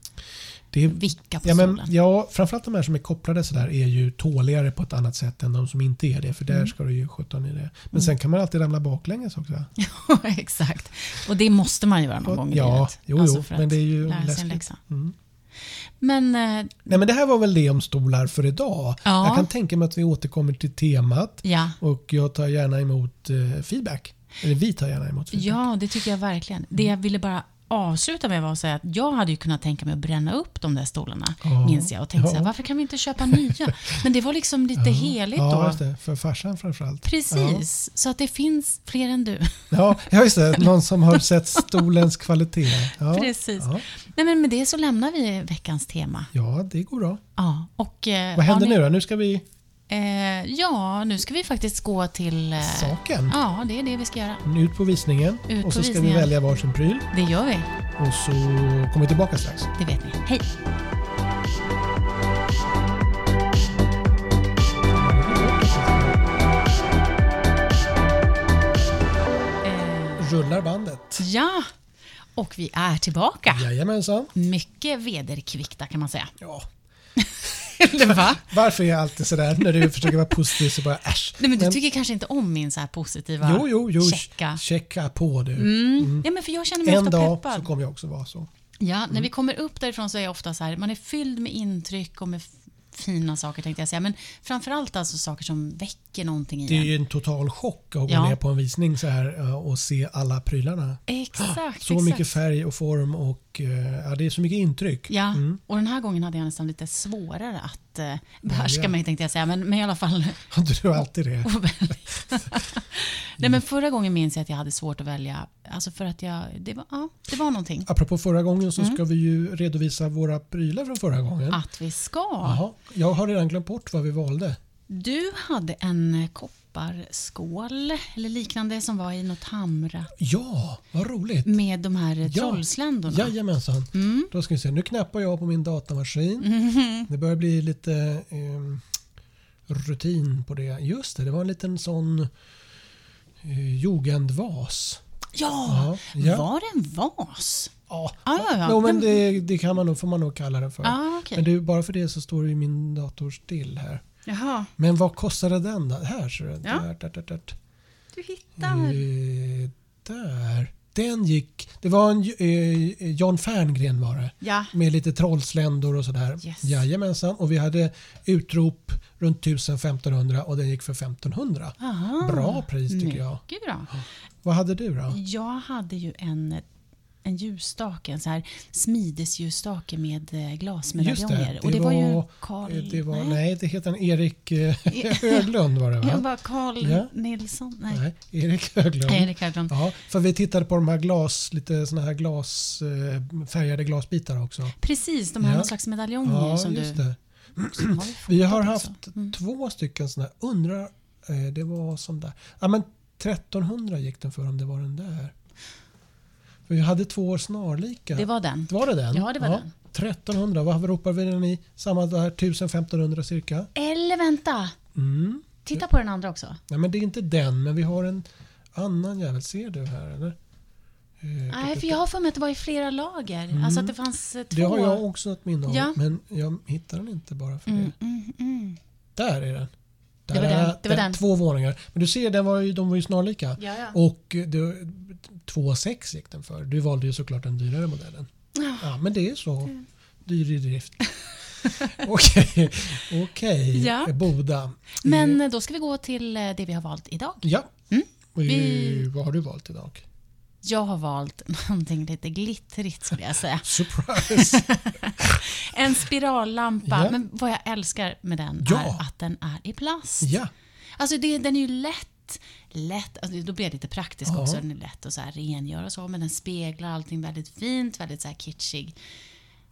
Speaker 2: Det är,
Speaker 1: vicka på
Speaker 2: ja, men,
Speaker 1: stolen?
Speaker 2: ja, framförallt de här som är kopplade sådär är ju tåligare på ett annat sätt än de som inte är det. För
Speaker 1: Mm.
Speaker 2: där ska du ju sjutton i det. Men sen kan man alltid ramla baklänges också.
Speaker 1: Ja, exakt. Och det måste man göra någon
Speaker 2: Och-
Speaker 1: gång i
Speaker 2: ja,
Speaker 1: livet.
Speaker 2: jo, jo,
Speaker 1: Alltså för
Speaker 2: men
Speaker 1: att
Speaker 2: det är ju
Speaker 1: lära sig en
Speaker 2: läskigt. Mm.
Speaker 1: läxa. Men eh,
Speaker 2: Nej, men det här var väl det om stolar för idag.
Speaker 1: Ja.
Speaker 2: Jag kan tänka mig att vi återkommer till temat
Speaker 1: ja,
Speaker 2: och jag tar gärna emot eh, feedback. Eller vi tar gärna emot feedback.
Speaker 1: Ja, det tycker jag verkligen. Det jag ville bara avsluta med var att säga att jag hade ju kunnat tänka mig att bränna upp de där stolarna,
Speaker 2: Ja.
Speaker 1: minns jag. Och tänkte så här,
Speaker 2: Ja.
Speaker 1: varför kan vi inte köpa nya? Men det var liksom lite heligt
Speaker 2: Ja,
Speaker 1: då.
Speaker 2: just det. För farsan framförallt.
Speaker 1: Precis, så att det finns fler än du.
Speaker 2: Ja, ja just det. Någon som har sett stolens kvalitet. Ja,
Speaker 1: Precis.
Speaker 2: Ja.
Speaker 1: Nej, men med det så lämnar vi veckans tema.
Speaker 2: ja, det går bra.
Speaker 1: Ja, och, eh,
Speaker 2: Vad händer
Speaker 1: har ni-
Speaker 2: nu då? Nu ska vi...
Speaker 1: Eh, ja, nu ska vi faktiskt gå till... Eh,
Speaker 2: Saken.
Speaker 1: Ja, det är det vi ska göra.
Speaker 2: Ut på visningen
Speaker 1: Ut
Speaker 2: och så
Speaker 1: på
Speaker 2: ska
Speaker 1: visningen.
Speaker 2: vi välja varsin pryl
Speaker 1: Det gör vi,
Speaker 2: och så kommer vi tillbaka strax.
Speaker 1: det vet ni. Hej! Eh,
Speaker 2: Rullar bandet.
Speaker 1: ja, och vi är tillbaka.
Speaker 2: Jajamensan.
Speaker 1: Mycket vederkvickta kan man säga.
Speaker 2: Ja.
Speaker 1: Eller va?
Speaker 2: Varför är jag alltid sådär när du försöker vara positiv så bara äsch.
Speaker 1: Nej, men du tycker kanske inte om min så här positiva,
Speaker 2: Jo, jo, jo.
Speaker 1: checka.
Speaker 2: Checka på du.
Speaker 1: Nej, men för jag känner mig
Speaker 2: En
Speaker 1: ofta
Speaker 2: dag
Speaker 1: peppad.
Speaker 2: så Mm. kommer jag också vara så.
Speaker 1: Ja, när vi kommer upp därifrån så är jag ofta så här, man är fylld med intryck och med f- fina saker tänkte jag säga. Men framförallt alltså saker som väcker någonting
Speaker 2: Det är
Speaker 1: i en.
Speaker 2: ju en total chock att gå
Speaker 1: Ja.
Speaker 2: ner på en visning så här eh, och se alla prylarna.
Speaker 1: Exakt,
Speaker 2: Så
Speaker 1: exakt.
Speaker 2: mycket färg och form och eh, ja, det är så mycket intryck.
Speaker 1: Ja, och den här gången hade jag nästan lite svårare att eh, behärska
Speaker 2: Välja.
Speaker 1: mig tänkte jag säga. Men, men i alla fall
Speaker 2: Har inte du alltid det?
Speaker 1: att välja. Nej,
Speaker 2: Mm.
Speaker 1: men förra gången minns jag att jag hade svårt att välja. Alltså för att jag, det var, ja, det var någonting.
Speaker 2: Apropå förra gången
Speaker 1: Mm.
Speaker 2: så ska vi ju redovisa våra prylar från förra gången.
Speaker 1: Att vi ska.
Speaker 2: Jaha, jag har redan glömt bort vad vi valde.
Speaker 1: Du hade en kopparskål eller liknande som var i något hamra.
Speaker 2: Ja, vad roligt.
Speaker 1: Med de här
Speaker 2: Ja.
Speaker 1: trollsländorna?
Speaker 2: Jajamensan.
Speaker 1: Mm.
Speaker 2: Då ska vi se. Nu knappar jag på min datamaskin.
Speaker 1: Mm-hmm.
Speaker 2: Det börjar bli lite ehm, rutin på det. Just det, det var en liten sån eh, jugendvas.
Speaker 1: Ja,
Speaker 2: Ja, ja.
Speaker 1: Var det en vas?
Speaker 2: Ja,
Speaker 1: Ah, ja, ja.
Speaker 2: Jo,
Speaker 1: Den-
Speaker 2: men det, det kan man nog, får man nog kalla den för.
Speaker 1: Ah, okej.
Speaker 2: Men det, är ju bara för det så står det ju min dator still här.
Speaker 1: Jaha.
Speaker 2: Men vad kostade den? Då? Här ser du.
Speaker 1: Ja.
Speaker 2: Där, där, där, där.
Speaker 3: du hittar?
Speaker 2: Eh, där. Den gick... Det var en eh, Jan Ferngren var det.
Speaker 1: Ja.
Speaker 2: Med lite trollsländor och sådär.
Speaker 1: Yes.
Speaker 2: Jajamensan. Och vi hade utrop runt 1500 och den gick för 1500.
Speaker 1: Aha.
Speaker 2: Bra pris tycker jag.
Speaker 1: Mycket bra.
Speaker 2: Vad hade du då?
Speaker 1: Jag hade ju en, en ljusstake, en så här smidesljusstake med eh, glasmedaljonger. och det var, ju Carl...
Speaker 2: eh, Det var, nej.
Speaker 1: nej.
Speaker 2: det heter en Erik eh, Höglund var det
Speaker 1: Jag
Speaker 2: va?
Speaker 1: var Carl
Speaker 2: Ja.
Speaker 1: Nilsson. Nej,
Speaker 2: Nej, Erik Höglund.
Speaker 1: nej Erik Hedlund.
Speaker 2: Ja, för vi tittade på de här glas, lite såna här glas, eh, färgade glasbitar också.
Speaker 1: Precis, de här
Speaker 2: Ja.
Speaker 1: någon slags medaljonger
Speaker 2: Ja,
Speaker 1: som du
Speaker 2: just det.
Speaker 1: som har ju
Speaker 2: Vi har
Speaker 1: fotat också.
Speaker 2: haft två stycken såna här. Undrar, eh, det var sån där. Ja men 1300 gick den för om det var den där. För vi hade två år snarlika.
Speaker 1: Det var den.
Speaker 2: Var det den?
Speaker 1: Ja, det var den.
Speaker 2: 1300, vad ropar vi den i? Samma där, 1500 cirka.
Speaker 1: Eller vänta!
Speaker 2: Mm.
Speaker 1: Titta på den andra också.
Speaker 2: Nej men det är inte den, men vi har en annan jävel. Ser du här eller? Eh,
Speaker 1: Nej, för jag har för mig att det var i flera lager. Alltså att det fanns eh, två.
Speaker 2: Mm. Det har jag också ett minne av,
Speaker 1: Ja.
Speaker 2: men jag hittar den inte bara för det.
Speaker 1: Mm, mm, mm.
Speaker 2: Där är den.
Speaker 1: Det var den, det var den.
Speaker 2: Två våningar. Men du ser, den var ju, de var ju snarlika.
Speaker 1: Ja, ja.
Speaker 2: Och eh, det, 2,6 gick den för. Du valde ju såklart den dyrare modellen.
Speaker 1: Ja.
Speaker 2: Ja, men det är så. Dyr i drift. Okej. Okej.
Speaker 1: Ja.
Speaker 2: Boda.
Speaker 1: Men eh, då ska vi gå till eh, det vi har valt idag.
Speaker 2: Ja.
Speaker 1: Mm.
Speaker 2: Och, eh,
Speaker 1: Vi-
Speaker 2: Vad har du valt idag?
Speaker 1: Jag har valt någonting lite glittrigt skulle jag säga.
Speaker 2: Surprise!
Speaker 1: En spirallampa.
Speaker 2: Ja.
Speaker 1: Men vad jag älskar med den
Speaker 2: Ja.
Speaker 1: är att den är i plast.
Speaker 2: ja.
Speaker 1: Alltså det, den är ju lätt. lätt alltså då blir jag lite praktisk
Speaker 2: Ja.
Speaker 1: också. Den är lätt att så här rengöra och så. Men den speglar allting väldigt fint. Väldigt så här kitschig.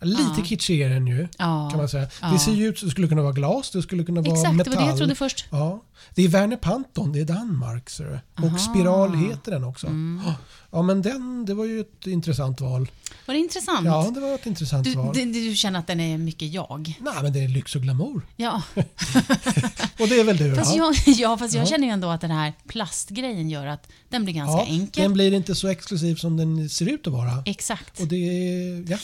Speaker 2: Lite kitschig är den ju.
Speaker 1: Ja.
Speaker 2: Kan man säga.
Speaker 1: Ja.
Speaker 2: Det ser ju ut, det skulle kunna vara glas, det skulle kunna vara
Speaker 1: Exakt, det
Speaker 2: metall.
Speaker 1: var det jag trodde först.
Speaker 2: Ja, det är Werner Panton, det är Danmark. Ser du. Och Spiral heter den också.
Speaker 1: Mm.
Speaker 2: Ja, men den, det var ju ett intressant val.
Speaker 1: Var det intressant?
Speaker 2: Ja, det var ett intressant
Speaker 1: Mm. Du,
Speaker 2: val.
Speaker 1: du, du känner att den är mycket jag?
Speaker 2: Nej, men det är lyx och glamour.
Speaker 1: Ja,
Speaker 2: Och det är väl du?
Speaker 1: fast,
Speaker 2: ja.
Speaker 1: jag, ja, fast jag
Speaker 2: Ja.
Speaker 1: känner ju ändå att den här plastgrejen gör att den blir ganska
Speaker 2: ja,
Speaker 1: enkel.
Speaker 2: Den blir inte så exklusiv som den ser ut att vara.
Speaker 1: Exakt.
Speaker 2: Och det är... Ja.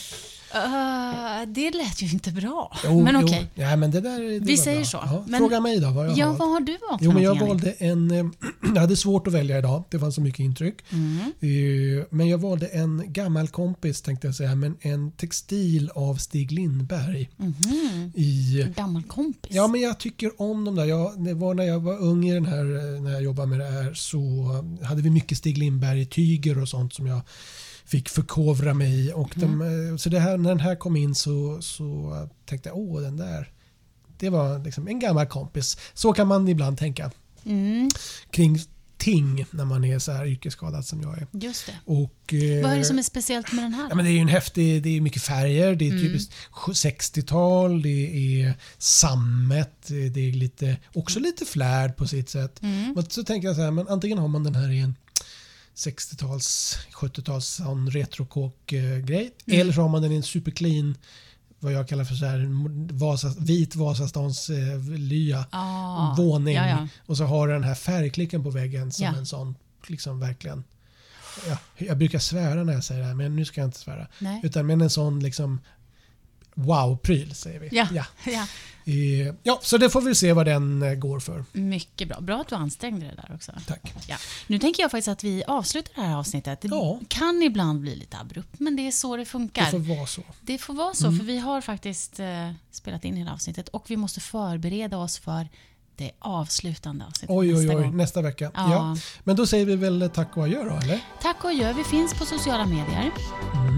Speaker 1: Eh, det lät ju inte bra.
Speaker 2: Jo,
Speaker 1: men okej.
Speaker 2: jo. Nej, men det där det
Speaker 1: Vi
Speaker 2: var
Speaker 1: säger
Speaker 2: bra.
Speaker 1: så.
Speaker 2: Ja.
Speaker 1: Men-
Speaker 2: Fråga mig då vad jag
Speaker 1: Ja,
Speaker 2: har valt.
Speaker 1: vad har du valt
Speaker 2: Jo, men jag
Speaker 1: någonting, Henrik?
Speaker 2: valde en... eh, Jag hade svårt att välja idag. Det fanns så mycket intryck.
Speaker 1: Mm.
Speaker 2: Eh, Men jag valde en gammal kompis tänkte jag säga. Men en textil av Stig Lindberg.
Speaker 1: Mm. Mhm.
Speaker 2: I,
Speaker 1: En Gammal kompis.
Speaker 2: ja, men jag tycker om dem där. Jag, det var när jag var ung i den här, eh, när jag jobbade med det här så hade vi mycket Stig Lindberg-tyger och sånt som jag fick förkovra mig i. Och
Speaker 1: Mm.
Speaker 2: de, eh, så det här, när den här kom in så, så tänkte jag, åh den där. Det var liksom en gammal kompis. Så kan man ibland tänka
Speaker 1: mm,
Speaker 2: kring ting när man är så här yrkesskadad som jag är.
Speaker 1: just det.
Speaker 2: Och, eh,
Speaker 1: Vad är det som är speciellt med den här?
Speaker 2: Ja, men det är ju en häftig, det är mycket färger, det är typiskt 60-tal, det är sammet, det är lite, också lite flärd på sitt sätt.
Speaker 1: Mm.
Speaker 2: Men så tänker jag så här, men antingen har man den här i en 60-tals, 70-tals sån retrokåk-grej. Eller så har man den i en superclean, vad jag kallar för så här, Vasa, vit Vasastans eh, lya
Speaker 1: Ah,
Speaker 2: våning.
Speaker 1: Ja, ja.
Speaker 2: Och så har den här färgklicken på väggen som
Speaker 1: Ja.
Speaker 2: en sån, liksom verkligen. Ja, jag brukar svära när jag säger det här, men nu ska jag inte svära.
Speaker 1: Nej.
Speaker 2: Utan men en sån liksom wow-pryl säger vi.
Speaker 1: Ja.
Speaker 2: Ja.
Speaker 1: ja.
Speaker 2: Eh, ja, så det får vi se vad den eh, går för.
Speaker 1: Mycket bra. Bra att du ansträngde dig där också.
Speaker 2: Tack.
Speaker 1: Ja. Nu tänker jag faktiskt att vi avslutar det här avsnittet. Det
Speaker 2: Ja.
Speaker 1: kan ibland bli lite abrupt, men det är så det funkar.
Speaker 2: Det får Mm. vara så.
Speaker 1: Det får vara så, för vi har faktiskt eh, spelat in hela avsnittet och vi måste förbereda oss för det avslutande avsnittet
Speaker 2: Oj, oj,
Speaker 1: nästa
Speaker 2: oj.
Speaker 1: gång.
Speaker 2: Nästa vecka.
Speaker 1: Ja.
Speaker 2: Ja. Men då säger vi väl tack och adjö då, eller?
Speaker 1: Tack och adjö. Vi finns på sociala medier.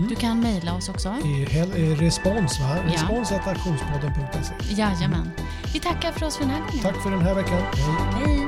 Speaker 1: Du kan mejla oss också.
Speaker 2: Eh, hel- eh, Respons, va?
Speaker 1: Ja.
Speaker 2: Respons att aktionspodden.se.
Speaker 1: Jajamän. Vi tackar för oss för den här gången.
Speaker 2: Tack för den här veckan. Hej.
Speaker 1: Hej.